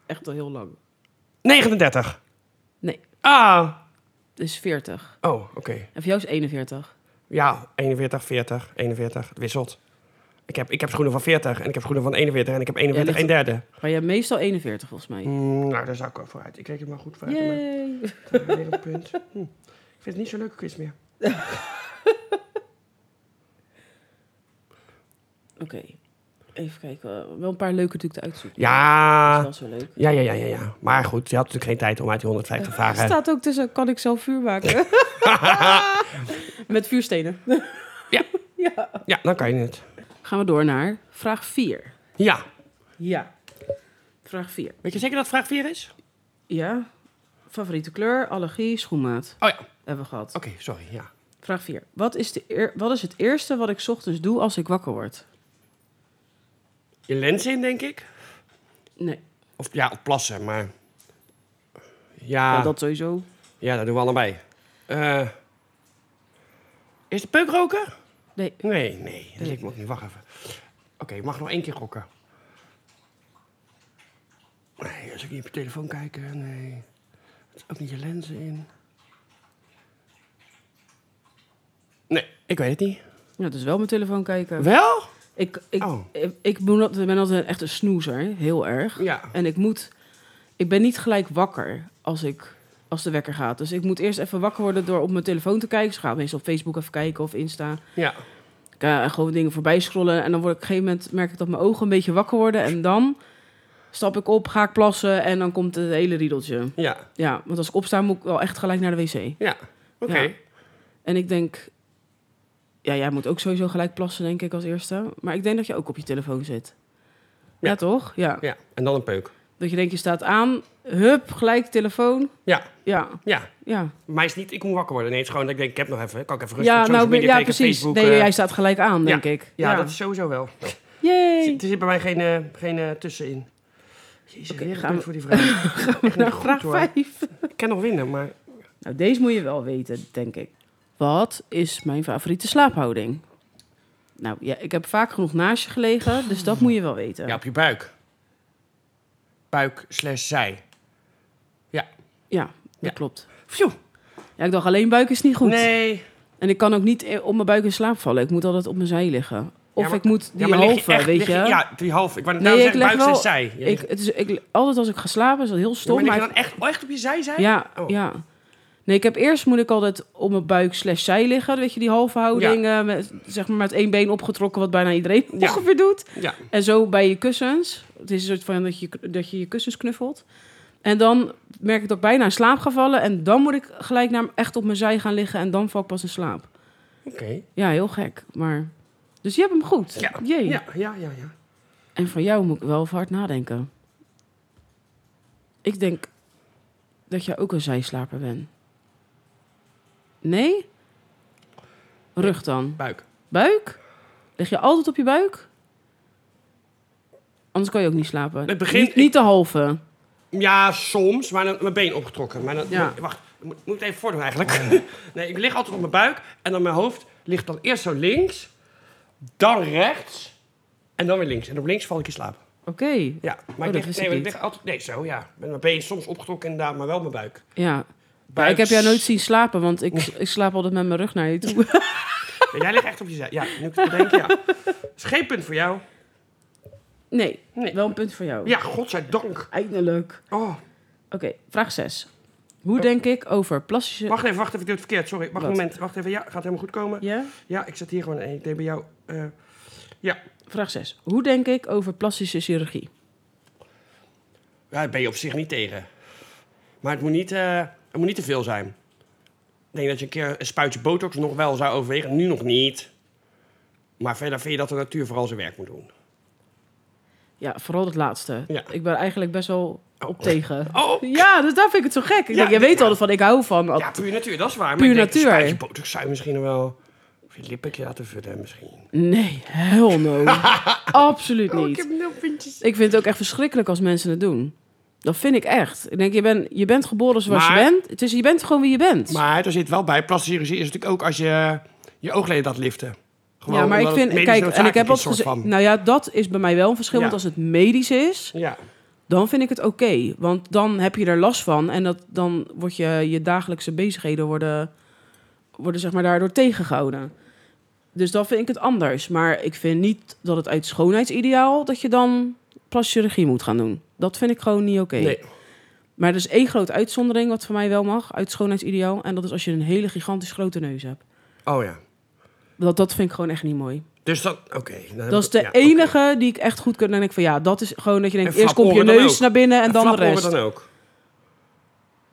Echt al heel lang. 39. Nee, Ah. het is 40. Oh, oké. En voor jou is 41. Ja, 41, 40, 41. Het wisselt. Ik heb, ik heb schoenen van 40 en ik heb schoenen van 41 en ik heb 41 Ja, een derde. Maar jij hebt meestal 41 volgens mij. Mm, nou, daar zou ik wel voor uit. Ik reken maar goed vooruit. Maar Yay. ik heb weer een punt. Hm. Ik vind het niet zo'n leuke quiz meer. Oké. Even kijken. Wel een paar leuke natuurlijk te uitzoeken. Dat is Ja. wel zo leuk. Ja, ja, ja, ja, ja. Maar goed, je had natuurlijk geen tijd om uit die 150 Er vragen. staat ook tussen, kan ik zelf vuur maken? Met vuurstenen. Ja. ja. Ja, dan kan je het. Gaan we door naar vraag 4. Ja. Ja. Vraag 4. Weet je zeker dat vraag 4 is? Ja. Favoriete kleur, allergie, schoenmaat. Oh ja. Oké, Hebben we gehad. sorry. Ja. Vraag 4. Wat is, de eer- wat is het eerste wat ik 's ochtends doe als ik wakker word? Je lens in, denk ik. Nee. Of ja, of plassen, maar. Ja, Ja, dat sowieso. ja dat doen we allebei. Eh, is de peuk roken? Nee. Nee, nee, dat lijkt me ook niet. Wacht even. Oké, ik mag nog één keer gokken. Nee, als ik niet op je telefoon kijk, eh, nee. Er is ook niet je lenzen in. Nee, ik weet het niet. Ja, dus wel mijn telefoon kijken. Wel? Ik, ik, Oh. ik, ik ben altijd, ben altijd echt een snoezer, heel erg. Ja. En ik moet... Ik ben niet gelijk wakker als, ik, als de wekker gaat. Dus ik moet eerst even wakker worden door op mijn telefoon te kijken. Dus ik ga meestal op Facebook even kijken of Insta. Ja. Ik ga gewoon dingen voorbij scrollen. En dan word ik op een gegeven moment, merk ik dat mijn ogen een beetje wakker worden. En dan stap ik op, ga ik plassen en dan komt het hele riedeltje. Ja. Ja, want als ik opsta moet ik wel echt gelijk naar de wc. Ja. Oké. Ja. En ik denk... Ja, jij moet ook sowieso gelijk plassen, denk ik, als eerste. Maar ik denk dat je ook op je telefoon zit. Ja, Ja. toch? Ja. Ja, en dan een peuk. Dat je denkt, je staat aan, hup, gelijk telefoon. Ja, Ja, ja. ja. Maar is niet, ik moet wakker worden. Nee, het is gewoon dat ik denk, ik heb nog even, kan ik even rustig Ja, op social nou, ben- media ja, kijken, precies. Facebook. nee, eh. jij staat gelijk aan, denk ik. ja, dat is sowieso wel. Yay. Er zit bij mij geen, eh, geen eh, tussenin. Jezus, Oké, weer gaan gaan we- voor die vraag. Echt niet Nou, goed, vraag hoor. 5. Ik kan nog winnen, maar Nou, deze moet je wel weten, denk ik. Wat is mijn favoriete slaaphouding? Nou, ja, ik heb vaak genoeg naast je gelegen, dus dat moet je wel weten. ja, op je buik. Buik slash zij. Ja, dat Ja. klopt. Phew. Ja, ik dacht alleen buik is niet goed. Nee. En ik kan ook niet eh, op mijn buik in slaap vallen. Ik moet altijd op mijn zij liggen. Of maar- ik moet die ja, maar lig je halve, echt- weet lig je. ja, die halve. Ik wou net Nee, nou ik zeggen, leg buik wel- slash zij. Je ik, ligt- het is, ik, altijd als ik ga slapen is dat heel Ja, stom. maar lig je maar dan echt, oh, echt op je zij zij? ja, Oh. ja. Nee, ik heb eerst moet ik altijd op mijn buik slash zij liggen. Weet je, die halve houding. eh, met, zeg maar met één been opgetrokken, wat bijna iedereen Ja. ongeveer doet. Ja. En zo bij je kussens. Het is een soort van dat je dat je, je kussens knuffelt. En dan merk ik dat ik bijna in slaap ga vallen. En dan moet ik gelijk naar, echt op mijn zij gaan liggen. En dan val ik pas in slaap. Oké. Ja, heel gek. Maar... Dus je hebt hem goed. Ja. Jee. Ja, ja, ja, ja. En van jou moet ik wel even hard nadenken. Ik denk dat jij ook een zijslaper bent. Nee? Rug dan. Buik. Buik? Lig je altijd op je buik? Anders kan je ook niet slapen. Het begint- niet, niet de halve. Ja, soms, maar dan mijn been opgetrokken. Maar dan, Ja. Wacht, ik moet, moet even voordoen eigenlijk. nee, ik lig altijd op mijn buik en dan mijn hoofd ligt dan eerst zo links, dan rechts en dan weer links. En op links val ik in slaap. Oké. Ja, maar Oh, dat ik, lig, wist nee, ik maar ik niet. lig altijd... Nee, zo, ja. Met mijn been soms opgetrokken inderdaad, maar wel mijn buik. Ja. buik Ja, ik heb jou nooit zien slapen, want ik, ik slaap altijd met mijn rug naar je toe. Ja, jij ligt echt op je zij. Ja, nu ik het bedenk, ja. is geen punt voor jou. Nee, Nee. wel een punt voor jou. Ja, godzijdank. Eindelijk. Oh, Oké, vraag 6. Hoe denk ik over plastische... wacht even, wacht even, ik doe het verkeerd. Sorry, wacht een Wat? moment. Wacht even, ja, gaat helemaal goed komen. Ja, Ja? ik zat hier gewoon en ik deed bij jou... eh, Vraag 6. Hoe denk ik over plastische chirurgie? Ja, daar ben je op zich niet tegen. Maar het moet niet, eh, het moet niet te veel zijn. Ik denk dat je een keer een spuitje botox nog wel zou overwegen. Nu nog niet. Maar verder vind je dat de natuur vooral zijn werk moet doen. Ja, vooral het laatste. Ja. Ik ben eigenlijk best wel Oh. op tegen. Oh, Ja, dus daar vind ik het zo gek. Ik Ja, denk, jij dit- weet altijd van, ik hou van... ja, puur natuur, dat is waar. Maar Puur ik denk, natuur. Een spuitje botox zou je misschien wel... Of je lippetje laten vullen misschien. Nee, hell no. Absoluut niet. Oh, nul puntjes. Ik vind het ook echt verschrikkelijk als mensen het doen. Dat vind ik echt. Ik denk, je, bent je bent geboren zoals Maar- je bent. Het is, je bent gewoon wie je bent. Maar er zit wel bij, plastische chirurgie is natuurlijk ook als je je oogleden laat liften. Gewoon ja, maar ik omdat het vind, medisch kijk, en ik noodzakelijk heb is, altijd soort gezegd, van. nou ja, dat is bij mij wel een verschil. Ja. Want als het medisch is, Ja, dan vind ik het oké. Want dan heb je er last van en dat, dan wordt je, je dagelijkse bezigheden worden, worden zeg maar daardoor tegengehouden. Dus dan vind ik het anders. Maar ik vind niet dat het uit schoonheidsideaal dat je dan plastische chirurgie moet gaan doen. Dat vind ik gewoon niet oké. nee. Maar er is één grote uitzondering wat voor mij wel mag uit schoonheidsideaal. En dat is als je een hele gigantisch grote neus hebt. Oh ja. Dat, dat vind ik gewoon echt niet mooi. Dus dat, oké. dan heb Dat is ik- de ja, oké. enige die ik echt goed kan. Dan denk ik van ja, dat is gewoon dat je denkt, En eerst komt je flaporen dan neus ook. naar binnen en, dan de flaporen rest. dan ook.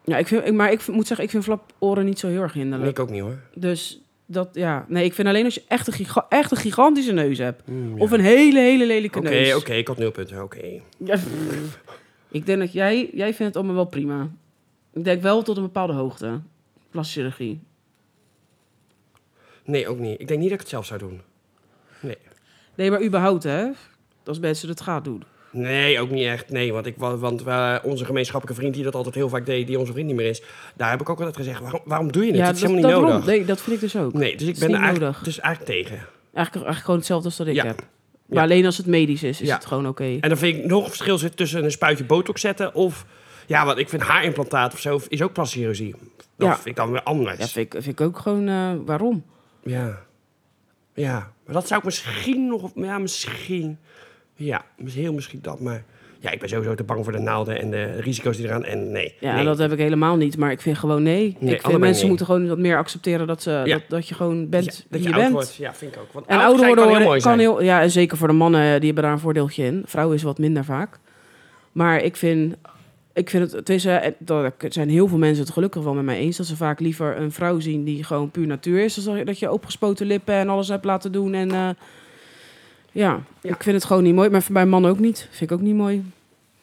Ja, ik vind, ik- maar ik vind- moet zeggen, ik vind flaporen niet zo heel erg hinderlijk. Ik ook niet hoor. Dus dat, ja. Nee, ik vind alleen als je echt een, giga- echt een gigantische neus hebt. Of een hele, hele lelijke Mm, Oké, neus. oké, ik had nul punten. Oké. Ja, pff. ik denk dat jij, jij vindt het allemaal wel prima. Ik denk wel tot een bepaalde hoogte. Plastische chirurgie. Nee, ook niet. Ik denk niet dat ik het zelf zou doen. Nee. Nee, maar überhaupt hè. Als mensen het gaan doen. Nee, ook niet echt. Nee, want, ik, wa- want eh, onze gemeenschappelijke vriend die dat altijd heel vaak deed, die onze vriend niet meer is, daar heb ik ook altijd gezegd: waarom, waarom doe je dit? dat is helemaal niet daarom. nodig. Nee, dat vind ik dus ook. Nee, dus ik is ben niet er eigenlijk, nodig. dus eigenlijk tegen. Eigenlijk, eigenlijk gewoon hetzelfde als dat ik Ja. heb. Maar Ja. alleen als het medisch is, is Ja. het gewoon oké. En dan vind ik nog een verschil zit tussen een spuitje botox zetten of. Ja, want ik vind haarimplantaat of zo is ook plastische chirurgie. Dat Ja. vind ik dan weer anders. Ja, vind ik, vind ik ook gewoon eh, waarom. Ja. Ja. Maar dat zou ik misschien nog... Ja, misschien... Ja, mis- heel misschien dat, maar... Ja, ik ben sowieso te bang voor de naalden en de risico's die eraan... En nee. Ja, nee. dat heb ik helemaal niet, maar ik vind gewoon nee. ik vind allebei mensen nee. moeten gewoon wat meer accepteren dat, ze, Ja. dat, dat je gewoon bent Ja, wie dat je, je, oud bent. wordt. Ja, vind ik ook. Want En oud ouder zijn worden oh, kan heel mooi worden- zijn. kan heel, ja, en zeker voor de mannen, eh, die hebben daar een voordeeltje in. Vrouwen is wat minder vaak. Maar ik vind, ik vind het, het is, eh, het- daar zijn heel veel mensen het gelukkig wel met mij eens, dat ze vaak liever een vrouw zien die gewoon puur natuur is, dan dat je opgespoten lippen en alles hebt laten doen. En eh, ja, Ja. ik vind het gewoon niet mooi, maar voor bij mannen ook niet. Vind ik ook niet mooi.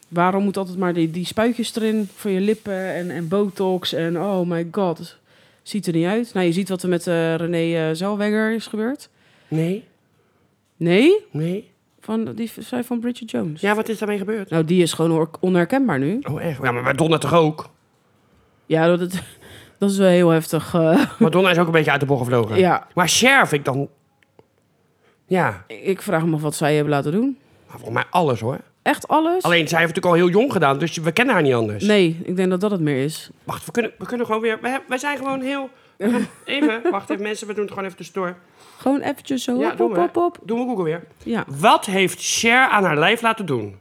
Waarom moet altijd maar die, die spuitjes erin voor je lippen en, en botox en oh my god. Ziet er niet uit. Nou, je ziet wat er met eh, René eh Zellweger is gebeurd. Nee, Nee, nee. van, die zij van Bridget Jones. Ja, wat is daarmee gebeurd? Nou, die is gewoon hoor- onherkenbaar nu. Oh, echt? Ja, maar Madonna toch ook? Ja, dat, dat, dat is wel heel heftig. eh. Madonna is ook een beetje uit de bocht gevlogen. ja, Maar Cher vind ik dan... Ja, ik vraag me af wat zij hebben laten doen. maar volgens mij alles hoor. Echt alles? Alleen, zij heeft het natuurlijk al heel jong gedaan, dus we kennen haar niet anders. Nee, ik denk dat dat het meer is. Wacht, we kunnen, we kunnen gewoon weer... Wij, wij zijn gewoon heel... Even, wacht even mensen, we doen het gewoon even tussendoor. Gewoon eventjes zo. Ja, hop, doen hop, we. hop, hop. Doen we Google weer. Ja. Wat heeft Cher aan haar lijf laten doen?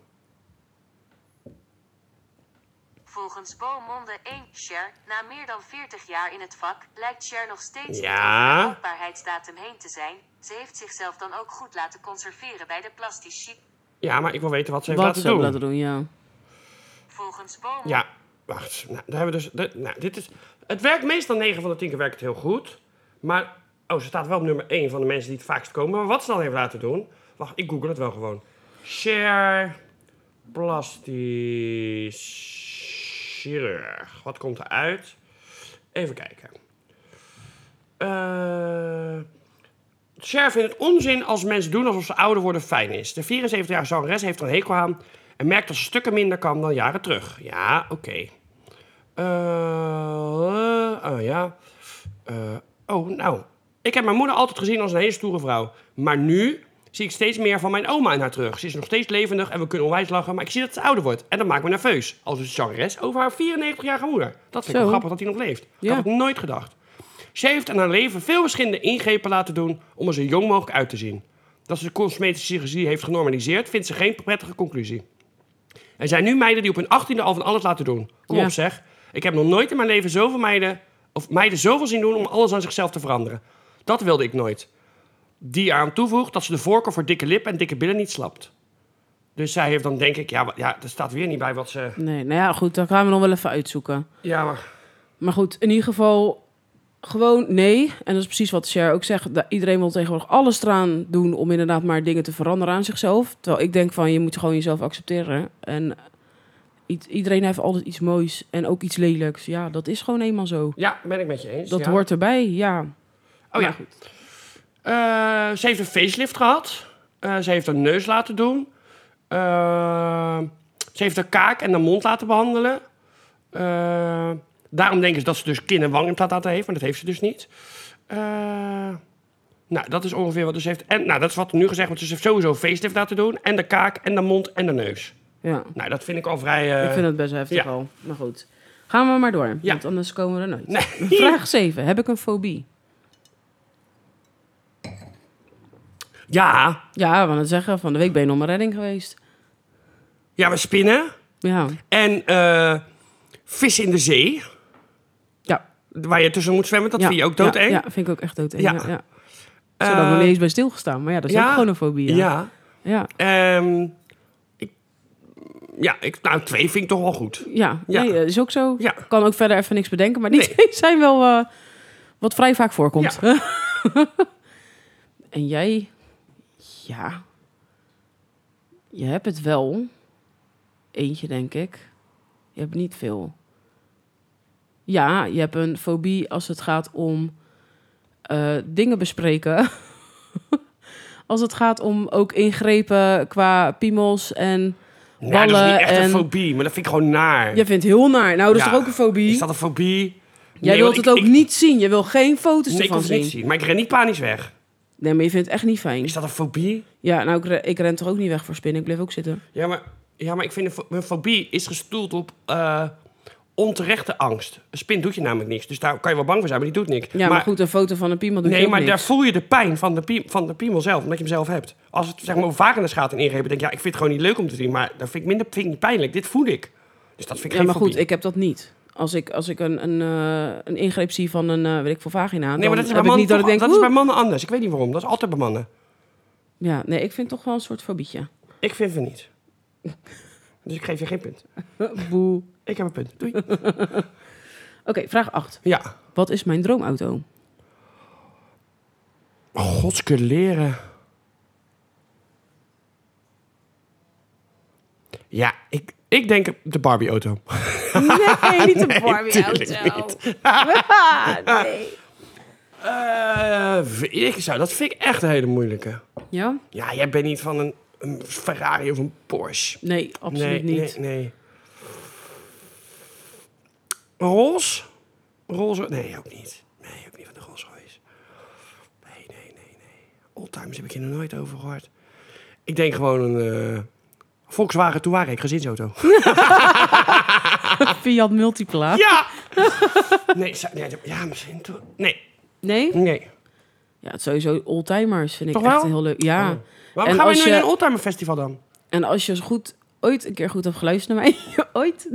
Volgens Beaumonde 1, Cher, na meer dan 40 jaar in het vak, lijkt Cher nog steeds Ja. niet over haar houdbaarheidsdatum heen te zijn. Ze heeft zichzelf dan ook goed laten conserveren bij de plastisch chic. Ja, maar ik wil weten wat ze heeft Wat laten ze doen. hebben laten doen, ja. Volgens Beaumonde Ja, wacht. Nou, daar hebben we dus... dit- nou, dit is, het werkt meestal 9 van de 10 keer werkt het heel goed. Maar... Oh, ze staat wel op nummer 1 van de mensen die het vaakst komen. Maar wat ze dan heeft laten doen... Wacht, ik google het wel gewoon. Cher... Plastisch... Chirurg. Wat komt eruit? Even kijken. Eh... Cher vindt het onzin als mensen doen alsof ze ouder worden fijn is. De 74-jarige zangeres heeft er een hekel aan en merkt dat ze stukken minder kan dan jaren terug. Ja, oké. Eh, eh, oh ja. Eh, oh, nou. Ik heb mijn moeder altijd gezien als een hele stoere vrouw. Maar nu zie ik steeds meer van mijn oma in haar terug. Ze is nog steeds levendig en we kunnen onwijs lachen, maar ik zie dat ze ouder wordt. En dat maakt me nerveus. Als een zangeres over haar 94-jarige moeder. Dat vind ik wel Zo. grappig dat hij nog leeft. Ik Ja. had het nooit gedacht. Ze heeft aan haar leven veel verschillende ingrepen laten doen om er zo jong mogelijk uit te zien. Dat ze de cosmetische chirurgie heeft genormaliseerd, vindt ze geen prettige conclusie. Er zijn nu meiden die op hun achttiende al van alles laten doen. Kom Ja. op zeg. Ik heb nog nooit in mijn leven zoveel meiden, of meiden zoveel zien doen om alles aan zichzelf te veranderen. Dat wilde ik nooit. Die eraan toevoegt dat ze de voorkeur voor dikke lippen en dikke billen niet slapt. Dus zij heeft dan denk ik, ja, wa- ja er staat weer niet bij wat ze... Nee, nou ja, goed, dat gaan we nog wel even uitzoeken. Ja, maar... Maar goed, in ieder geval gewoon nee. En dat is precies wat Cher ook zegt. Dat iedereen wil tegenwoordig alles eraan doen om inderdaad maar dingen te veranderen aan zichzelf. Terwijl ik denk van, je moet gewoon jezelf accepteren. En i- iedereen heeft altijd iets moois en ook iets lelijks. Ja, dat is gewoon eenmaal zo. Ja, ben ik met je eens. Dat ja. hoort erbij, ja. Oh ja. Maar goed. Eh, ze heeft een facelift gehad. Eh, ze heeft haar neus laten doen. Eh, ze heeft haar kaak en haar mond laten behandelen. Eh, daarom denken ze dat ze dus kin- en wangimplantaten heeft, maar dat heeft ze dus niet. Eh, nou, dat is ongeveer wat ze heeft. En nou, dat is wat er nu gezegd wordt. Dus ze heeft sowieso een facelift laten doen. En de kaak, en de mond, en de neus. Ja, Nou, dat vind ik al vrij... eh, ik vind het best heftig ja. al. Maar goed, gaan we maar door. Ja. Want anders komen we er nooit. Nee. Vraag 7. Heb ik een fobie? Ja. Ja, we gaan het zeggen. Van de week ben je nog maar redding geweest. ja, we spinnen. Ja. En eh vis in de zee, Ja. waar je tussen moet zwemmen. Dat ja. vind je ook doodeng. Ja, ja, vind ik ook echt doodeng. Ja. Ja. Ja, Zo dat we Eh, niet eens bij stilgestaan. Maar ja, dat is ja. ook gewoon een fobie. Ja. ja. Ja. Ehm ik, ja, ik, nou, twee vind ik toch wel goed. Ja. Ja. Nee, eh, is ook zo. Ja. Kan ook verder even niks bedenken. Maar die Nee. twee zijn wel eh, wat vrij vaak voorkomt. en jij? Ja. Je hebt het wel. Eentje, denk ik. Je hebt niet veel. Ja, je hebt een fobie als het gaat om eh, dingen bespreken. als het gaat om ook ingrepen qua piemels en Nee, ballen. dat is niet echt en... een fobie, maar dat vind ik gewoon naar. Jij vindt heel naar. Nou, dat is Ja. toch ook een fobie? Is dat een fobie? Jij Nee, wilt want het ook ik, ik- niet zien. Je wil geen foto's Nee, ik wil ervan het zien. niet zien, maar ik ren niet panisch weg. Nee, maar je vindt het echt niet fijn. Is dat een fobie? Ja, nou, ik, re- ik ren toch ook niet weg voor spinnen. Ik bleef ook zitten. Ja, maar, ja, maar ik vind een, fo- een fobie is gestoeld op eh, onterechte angst. Een spin doet je namelijk niks, dus daar kan je wel bang voor zijn, maar die doet niks. Ja, maar, goed, een foto van een piemel doet je Nee, ook maar niks. daar voel je de pijn van de, pie- van de piemel zelf, omdat je hem zelf hebt. Als het zeg maar vagina gaat in ingrepen, denk ik, ja, ik vind het gewoon niet leuk om te zien, maar dat vind ik minder vind ik niet pijnlijk. Dit voel ik. Dus dat vind ik Ja, geen maar goed, fobie. ik heb dat niet. Als ik, als ik een, een, eh, een ingreep zie van een, eh weet ik veel, vagina... Nee, maar dat is bij heb ik mannen, niet dat ik toch- denk... dat is bij oeh. mannen anders. Ik weet niet waarom. Dat is altijd bij mannen. Ja, nee, ik vind toch wel een soort fobietje. Ik vind het niet. Dus ik geef je geen punt. Boe. Oké, Ik heb een punt. Doei. vraag 8. Ja. Wat is mijn droomauto? Oh, Godske leren. Ja, ik, ik denk de Barbie-auto. Nee, niet de tuurlijk Barbie-auto. nee. Eh, ik zou, dat vind ik echt een hele moeilijke. Ja? Ja, jij bent niet van een, een Ferrari of een Porsche. Nee, absoluut nee, niet. Nee, nee. Roze? Roze? Nee, ook niet. Nee, ook niet van de Rolls Royce. Nee, nee, nee, nee. Oldtimers heb ik hier nog nooit over gehoord. Ik denk gewoon een eh Volkswagen Touareg gezinsauto. Fiat Multipla. ja! nee, zou- nee, ja, misschien toch. Nee, Nee? nee. Ja, het sowieso oldtimers vind ik Toch echt wel? heel leuk. Ja. Oh. Waarom En gaan we als nu naar je- een Oldtimer Festival dan? En als je eens goed, ooit een keer goed hebt geluisterd naar mij, ooit,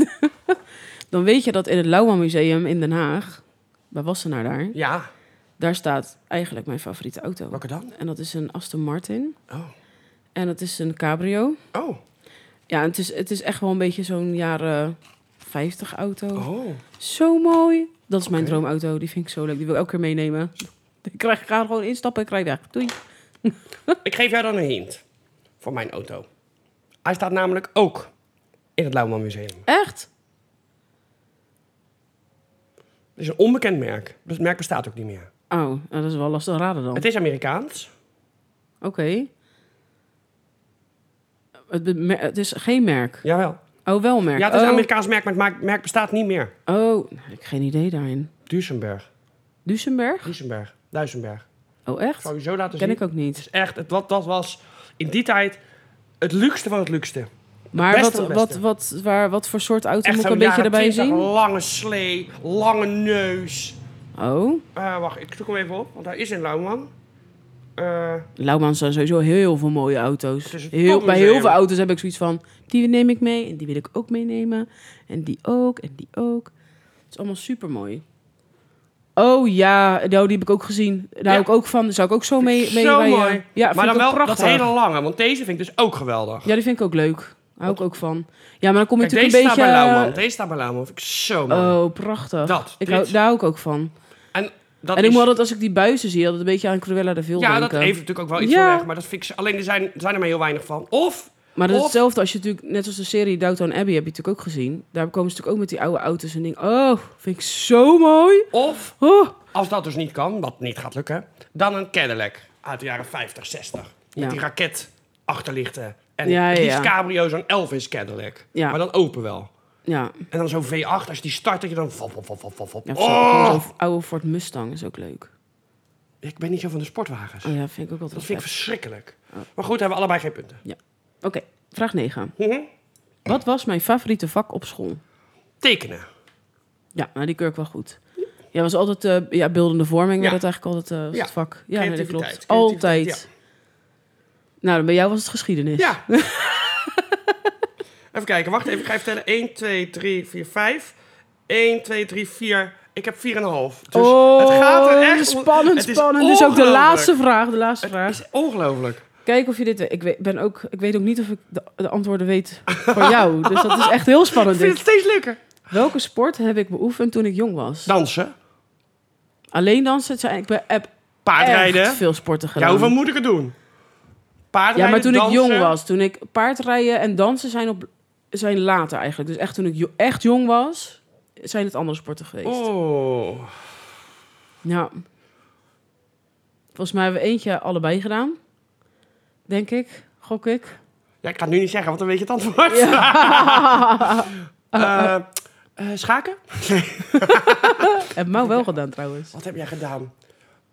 dan weet je dat in het Lauwa Museum in Den Haag, bij Wassenaar daar, Ja. daar staat eigenlijk mijn favoriete auto. Welke dan? En dat is een Aston Martin. Oh. En dat is een cabrio. Oh. Ja, en het is, het is echt wel een beetje zo'n jaren 50 auto. Oh. Zo mooi. Dat is mijn Oké. droomauto. Die vind ik zo leuk. Die wil ik elke keer meenemen. Ik krijg, ik ga er gewoon instappen en krijg weg. Doei. Ik geef jou dan een hint voor mijn auto. Hij staat namelijk ook in het Lauwman Museum. Echt? Het is een onbekend merk. Dus het merk bestaat ook niet meer. Oh, nou, dat is wel lastig raden dan. Het is Amerikaans. Oké. Het, be- mer- het is geen merk. Jawel. Oh, wel merk. Ja, het is een oh. Amerikaans merk, maar het maak- merk bestaat niet meer. Oh, nou, ik heb geen idee daarin. Duisenberg. Dusenberg? Duisenberg. Duisenberg. Oh, Ik echt? zal je zo laten Ken zien. ik ook Het niet. is echt, het, wat, dat was in die tijd het luxe van het luxe. Maar beste wat, van de wat, beste. wat, waar, wat voor soort auto Echt moet ik zo'n een beetje jaren erbij 20, zien? lange slee, lange neus. Oh, Eh, wacht, ik zoek hem even op, want hij is in Lauwman. Eh, Lauwman zijn sowieso heel veel mooie auto's. Het is het Heel, bij topmuseum. heel veel auto's heb ik zoiets van, die neem ik mee en die wil ik ook meenemen. En die ook, en die ook. Het is allemaal super mooi. Oh ja, nou, die heb ik ook gezien. Daar hou Ja. ik ook van. Daar zou ik ook zo mee mee zo rijden. mooi. Ja, maar vind dan ik wel ook prachtig. dat hele lange, want deze vind ik dus ook geweldig. Ja, die vind ik ook leuk. Hou ik ook van. Ja, maar dan kom je Kijk, deze natuurlijk staat bij Lauwman. een beetje... eh, Deze staat bij Lauwman. Vind ik zo mooi. Oh, prachtig. Dat, ik dit. hou, daar hou ik ook van. en dat en ik is- moet altijd, als ik die buizen zie, altijd een beetje aan Cruella de Vil ja, dat denken. heeft natuurlijk ook wel iets Ja. van weg. Maar dat vind ik, alleen er zijn, er zijn er maar heel weinig van. Of, Maar dat is Of- hetzelfde als je natuurlijk, net als de serie Downton Abbey, heb je natuurlijk ook gezien. Daar komen ze natuurlijk ook met die oude auto's en dingen. Oh, vind ik zo mooi. of, Oh. als dat dus niet kan, wat niet gaat lukken, dan een Cadillac uit de jaren 50, 60. Ja. Met die raket achterlichten. En Ja, ja, die ja. cabrio, zo'n Elvis Cadillac. Ja. Maar dan open wel. Ja, En dan zo'n V8, als je die start, dat je dan... Vop, vop, vop, vop, vop, vop. ja zo- oh! zo'n oude Ford Mustang is ook leuk. Ik ben niet zo van de sportwagens. Oh ja, vind ik ook altijd Dat vind ik vet. verschrikkelijk. Maar goed, hebben we allebei geen punten. Oké, vraag 9. Mhm. Wat was mijn favoriete vak op school? Tekenen. Ja, nou, die keur ik wel goed. Ja, was altijd eh, ja, beeldende vorming, maar Ja. dat eigenlijk altijd eh was Ja. het vak. Ja, nee, dat klopt. Creativiteit, creativiteit, Altijd. Nou, dan bij jou was het geschiedenis. Ja. even kijken, wacht even. Ik ga je vertellen. 1, 2, 3, 4, 5. 1, 2, 3, 4. Ik heb 4,5. Dus oh, het gaat er echt om- spannend, het is spannend. Dit is ook de ongelooflijk. laatste vraag, de laatste vraag. Het is ongelooflijk. Kijk of je dit... Ik weet, ben ook, ik weet ook niet of ik de, de antwoorden weet voor jou. Dus dat is echt heel Ik spannend. vind het dit. steeds leuker. Welke sport heb ik beoefend toen ik jong was? Dansen, Alleen dansen? Het zijn, ik ben, heb echt paardrijden. veel sporten Ja, gedaan. hoeveel moet ik het doen? Paardrijden, Ja, maar toen dansen. ik jong was, toen ik paardrijden en dansen zijn, op, zijn later eigenlijk. Dus echt toen ik jo- echt jong was, zijn het andere sporten geweest. Oh. Ja. Volgens mij hebben we eentje allebei gedaan. Denk ik, gok ik. Ja, ik ga het nu niet zeggen, want dan weet je het antwoord. Eh, eh, schaken? Heb Mau wel gedaan trouwens. Wat heb jij gedaan?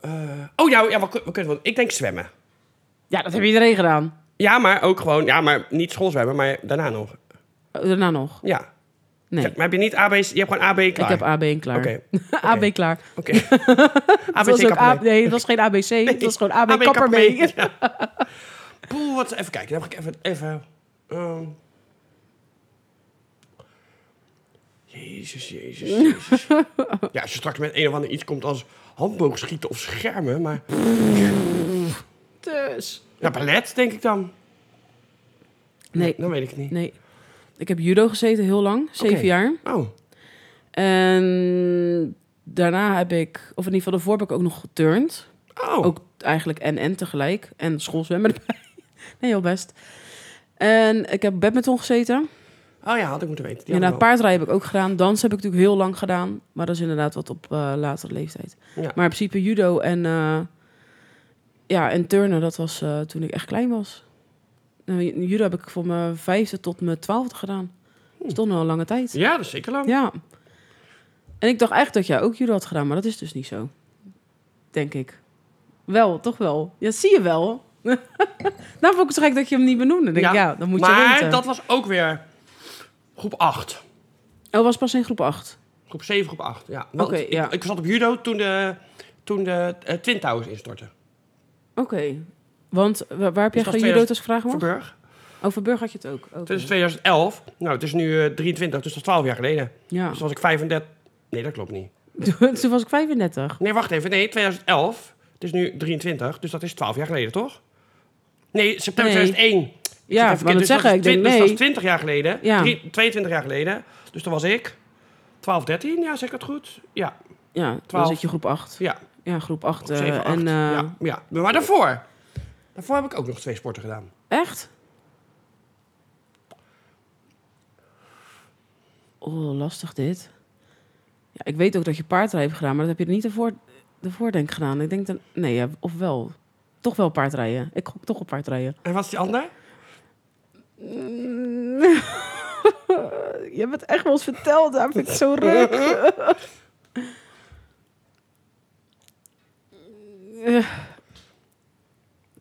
Eh, oh ja, ja we, kun- we kunnen wel. Ik denk zwemmen. Ja, dat heeft iedereen gedaan. Ja, maar ook gewoon. Ja, maar niet schoolzwemmen, maar daarna nog. Oh, Daarna nog. Ja. Nee, Maar heb je niet AB? Je hebt gewoon AB klaar. ik heb AB en klaar. Oké. AB klaar. Oké. Het ABC was ook kappen A- mee. nee, het was geen ABC. het was Dus gewoon AB, AB kapper mee. Ja. Poeh, wat even kijken. Dan heb ik even even ehm. Jezus, jezus, jezus. ja, als je straks met een of ander iets komt als handboogschieten of schermen, maar Dus. ja, ballet denk ik dan. Nee, Dan weet ik het niet. nee. Ik heb judo gezeten heel lang, zeven Oké. jaar. Oh, En daarna heb ik, of in ieder geval daarvoor heb ik ook nog geturnd. oh. Ook eigenlijk en en tegelijk. En schoolzwemmen erbij. Nee, heel best. En ik heb badminton gezeten. Oh ja, had ik moeten weten. Die Ja, had nou, ik wel. paardrijden heb ik ook gedaan. Dans heb ik natuurlijk heel lang gedaan. Maar dat is inderdaad wat op eh, latere leeftijd. Ja. Maar in principe judo en, eh, ja, en turnen, dat was eh, toen ik echt klein was. Nou, ju- judo heb ik van mijn vijfde tot mijn twaalfde gedaan. Dat is toch nog een lange tijd. Hm. ja, dat is zeker lang. Ja. En ik dacht echt dat jij ook judo had gedaan, maar dat is dus niet zo. Denk ik. Wel, toch wel. Ja, zie je wel. nou vond ik het zo gek dat je hem niet benoemde. Dan Denk, ja, ja, dan moet maar je weten. dat was ook weer groep 8. Oh, was pas in groep 8. Groep 7, groep 8. Ja. Want Oké, ik, ja. ik zat op judo toen de, toen de eh, Twin Towers instortten. Oké. Want wa- waar, heb jij Dus dat gejudo'd als ik vragen mag? Verburg. Oh, Verburg had je het ook. Oké. Het is 2011. Nou, het is nu eh, 23, dus dat is 12 jaar geleden. ja. Dus toen was ik 35. Nee, dat klopt niet. Toen was ik 35. Nee, wacht even. Nee, 2011. Het is nu 23, dus dat is 12 jaar geleden, toch? Nee, september Nee. 2001. Ik zit even Ja, verkeerd. maar dat Dus zeg is ik. Ik denk, twin- Dus dat is nee. 20 jaar geleden. Ja. Drie- 22 jaar geleden. Dus toen was ik 12, 13. Ja, zeg ik dat goed? Ja, Ja, dan Twaalf. zit je groep 8. ja. Ja, groep 8. 7, 8. en, eh, ja, ja. Maar daarvoor. Daarvoor heb ik ook nog twee sporten gedaan. Echt? Oh, lastig dit. Ja, ik weet ook dat je paardrijden hebt gedaan, maar dat heb je niet ervoor, ervoor denk ik gedaan. Ik denk dan, nee, ja, of wel. Toch wel paardrijden. Ik gok toch op paardrijden. En wat is die ander? Je bent echt wel eens verteld, daar vind ik zo ruk.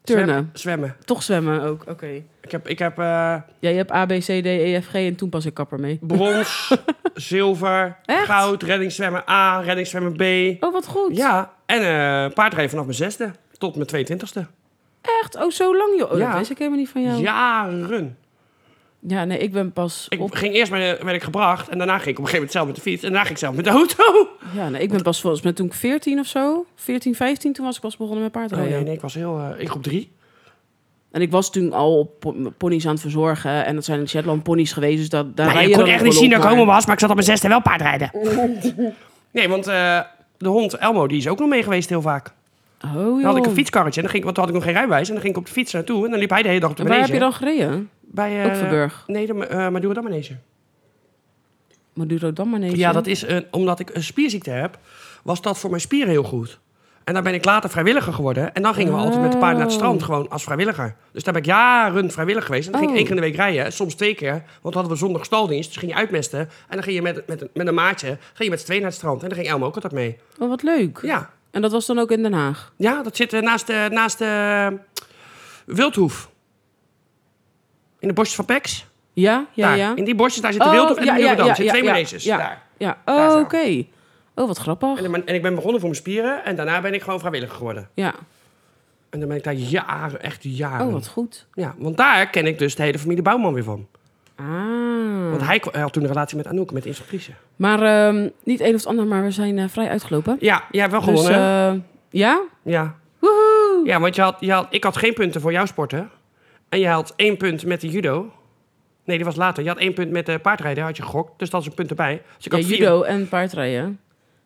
Turnen. Zwem- Zwemmen. Toch zwemmen ook, oké. Ik heb, ik heb eh, Ja, je hebt A, B, C, D, E, F, G en toen pas ik kapper mee. brons, zilver, Echt? goud, reddingszwemmen A, reddingszwemmen B. Oh, wat goed. Ja, en eh, paardrijden vanaf mijn zesde tot mijn 22e. Echt? Oh, zo lang joh. Oh, Ja. Dat wist ik helemaal niet van jou. Ja, Jaren. nee, ik ben pas Ik op... ging eerst met, werd ik gebracht en daarna ging ik op een gegeven moment zelf met de fiets en daarna ging ik zelf met de auto. Ja, nee, ik ben pas volgens mij toen ik 14 of zo, 14, 15, toen was ik pas begonnen met Oh, paardrijden. nee, nee, ik was heel, eh, in groep drie. En ik was toen al op po- ponies aan het verzorgen en dat zijn Shetland ponies geweest, dus dat, daar Maar rij je kon dan echt ook niet wel zien dat op, ik homo maar- was, maar ik zat op mijn zesde wel paardrijden. Nee, want eh, de hond Elmo die is ook nog mee geweest heel vaak. Oh, joh. Dan had ik een fietskarretje en dan ging, ik- want toen had ik nog geen rijbewijs. En dan ging ik op de fiets naartoe en dan liep hij de hele dag op de En waar heb manege. je dan gereden? Bij, eh, Ook Verburg. Nee, de, eh Maduro dan manege. Maduro dan maar nee. Ja, dat is een, omdat ik een spierziekte heb, was dat voor mijn spieren heel goed. En daar ben ik later vrijwilliger geworden. En dan gingen we altijd met de paarden naar het strand, gewoon als vrijwilliger. Dus daar ben ik jaren vrijwillig geweest. En dan ging ik Oh. één keer in de week rijden, soms twee keer. Want dan hadden we zondag staldienst, dus ging je uitmesten. En dan ging je met, met, een- met een maatje, ging je met z'n tweeën naar het strand. En dan ging Elmo ook altijd mee. Oh, wat leuk. Ja, En dat was dan ook in Den Haag? ja dat zit eh, naast, eh, naast eh, Wildhoef. In de bosjes van Pex. Ja, ja, Daar. ja. In die bosjes, daar zit de Oh, Wildhoef en ja, de Nieuwe ja, Dam. ja, zit ja, twee ja, menages, ja. daar. Ja, is oh, hij. oké. Oh, wat grappig. En, en ik ben begonnen voor mijn spieren en daarna ben ik gewoon vrijwilliger geworden. Ja. En dan ben ik daar jaren, echt jaren. Oh, wat goed. Ja, want daar ken ik dus de hele familie Bouwman weer van. Ah. Want hij, k- hij had toen een relatie met Anouk, met de instructrice. Maar ehm, niet een of het ander, maar we zijn eh, vrij uitgelopen. Ja, jij hebt wel Dus, gewonnen. hè? eh, ja? ja. Woehoe! ja, want je had, je had, ik had geen punten voor jouw sporten. En jij had één punt met de judo. Nee, die was later. Je had één punt met de paardrijden, had je gegokt. Dus dat is een punt erbij. Dus ik Ja, had vier- judo en paardrijden.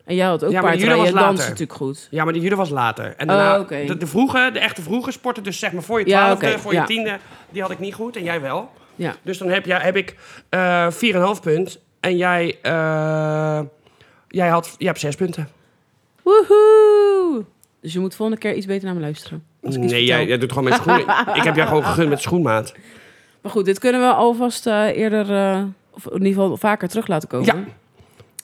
En jij had ook Ja, maar de judo paardrijden. was Dans later. natuurlijk goed. Ja, maar de judo was later. En Oh, daarna, oké. de, de vroege, de echte vroege sporten, dus zeg maar voor je Ja, twaalfde, oké, voor je ja. tiende, die had ik niet goed en jij wel. Ja. Dus dan heb, jij, heb ik eh 4,5 punt. En jij, eh, jij, had, jij hebt 6 punten. Woehoe! Dus je moet volgende keer iets beter naar me luisteren. Als ik iets Nee, vertel. jij, jij doet gewoon met schoen. ik heb jou gewoon gegund met schoenmaat. Maar goed, dit kunnen we alvast eh, eerder, eh, of in ieder geval vaker terug laten komen. Ja.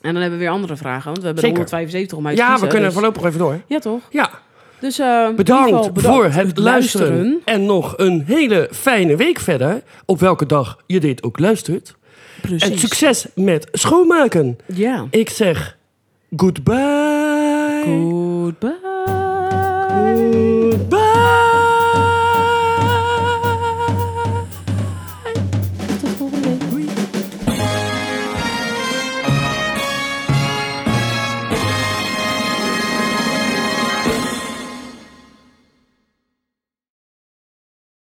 En dan hebben we weer andere vragen, want we hebben er Zeker. 175 om uit te ja, we kiezen, kunnen dus- voorlopig even door. Ja, toch? Ja, Dus, eh, in ieder bedankt, geval voor het luisteren. luisteren. En nog een hele fijne week verder. Op welke dag je dit ook luistert. Precies. En succes met schoonmaken. Ja. Ik zeg goodbye. Goodbye. Goodbye.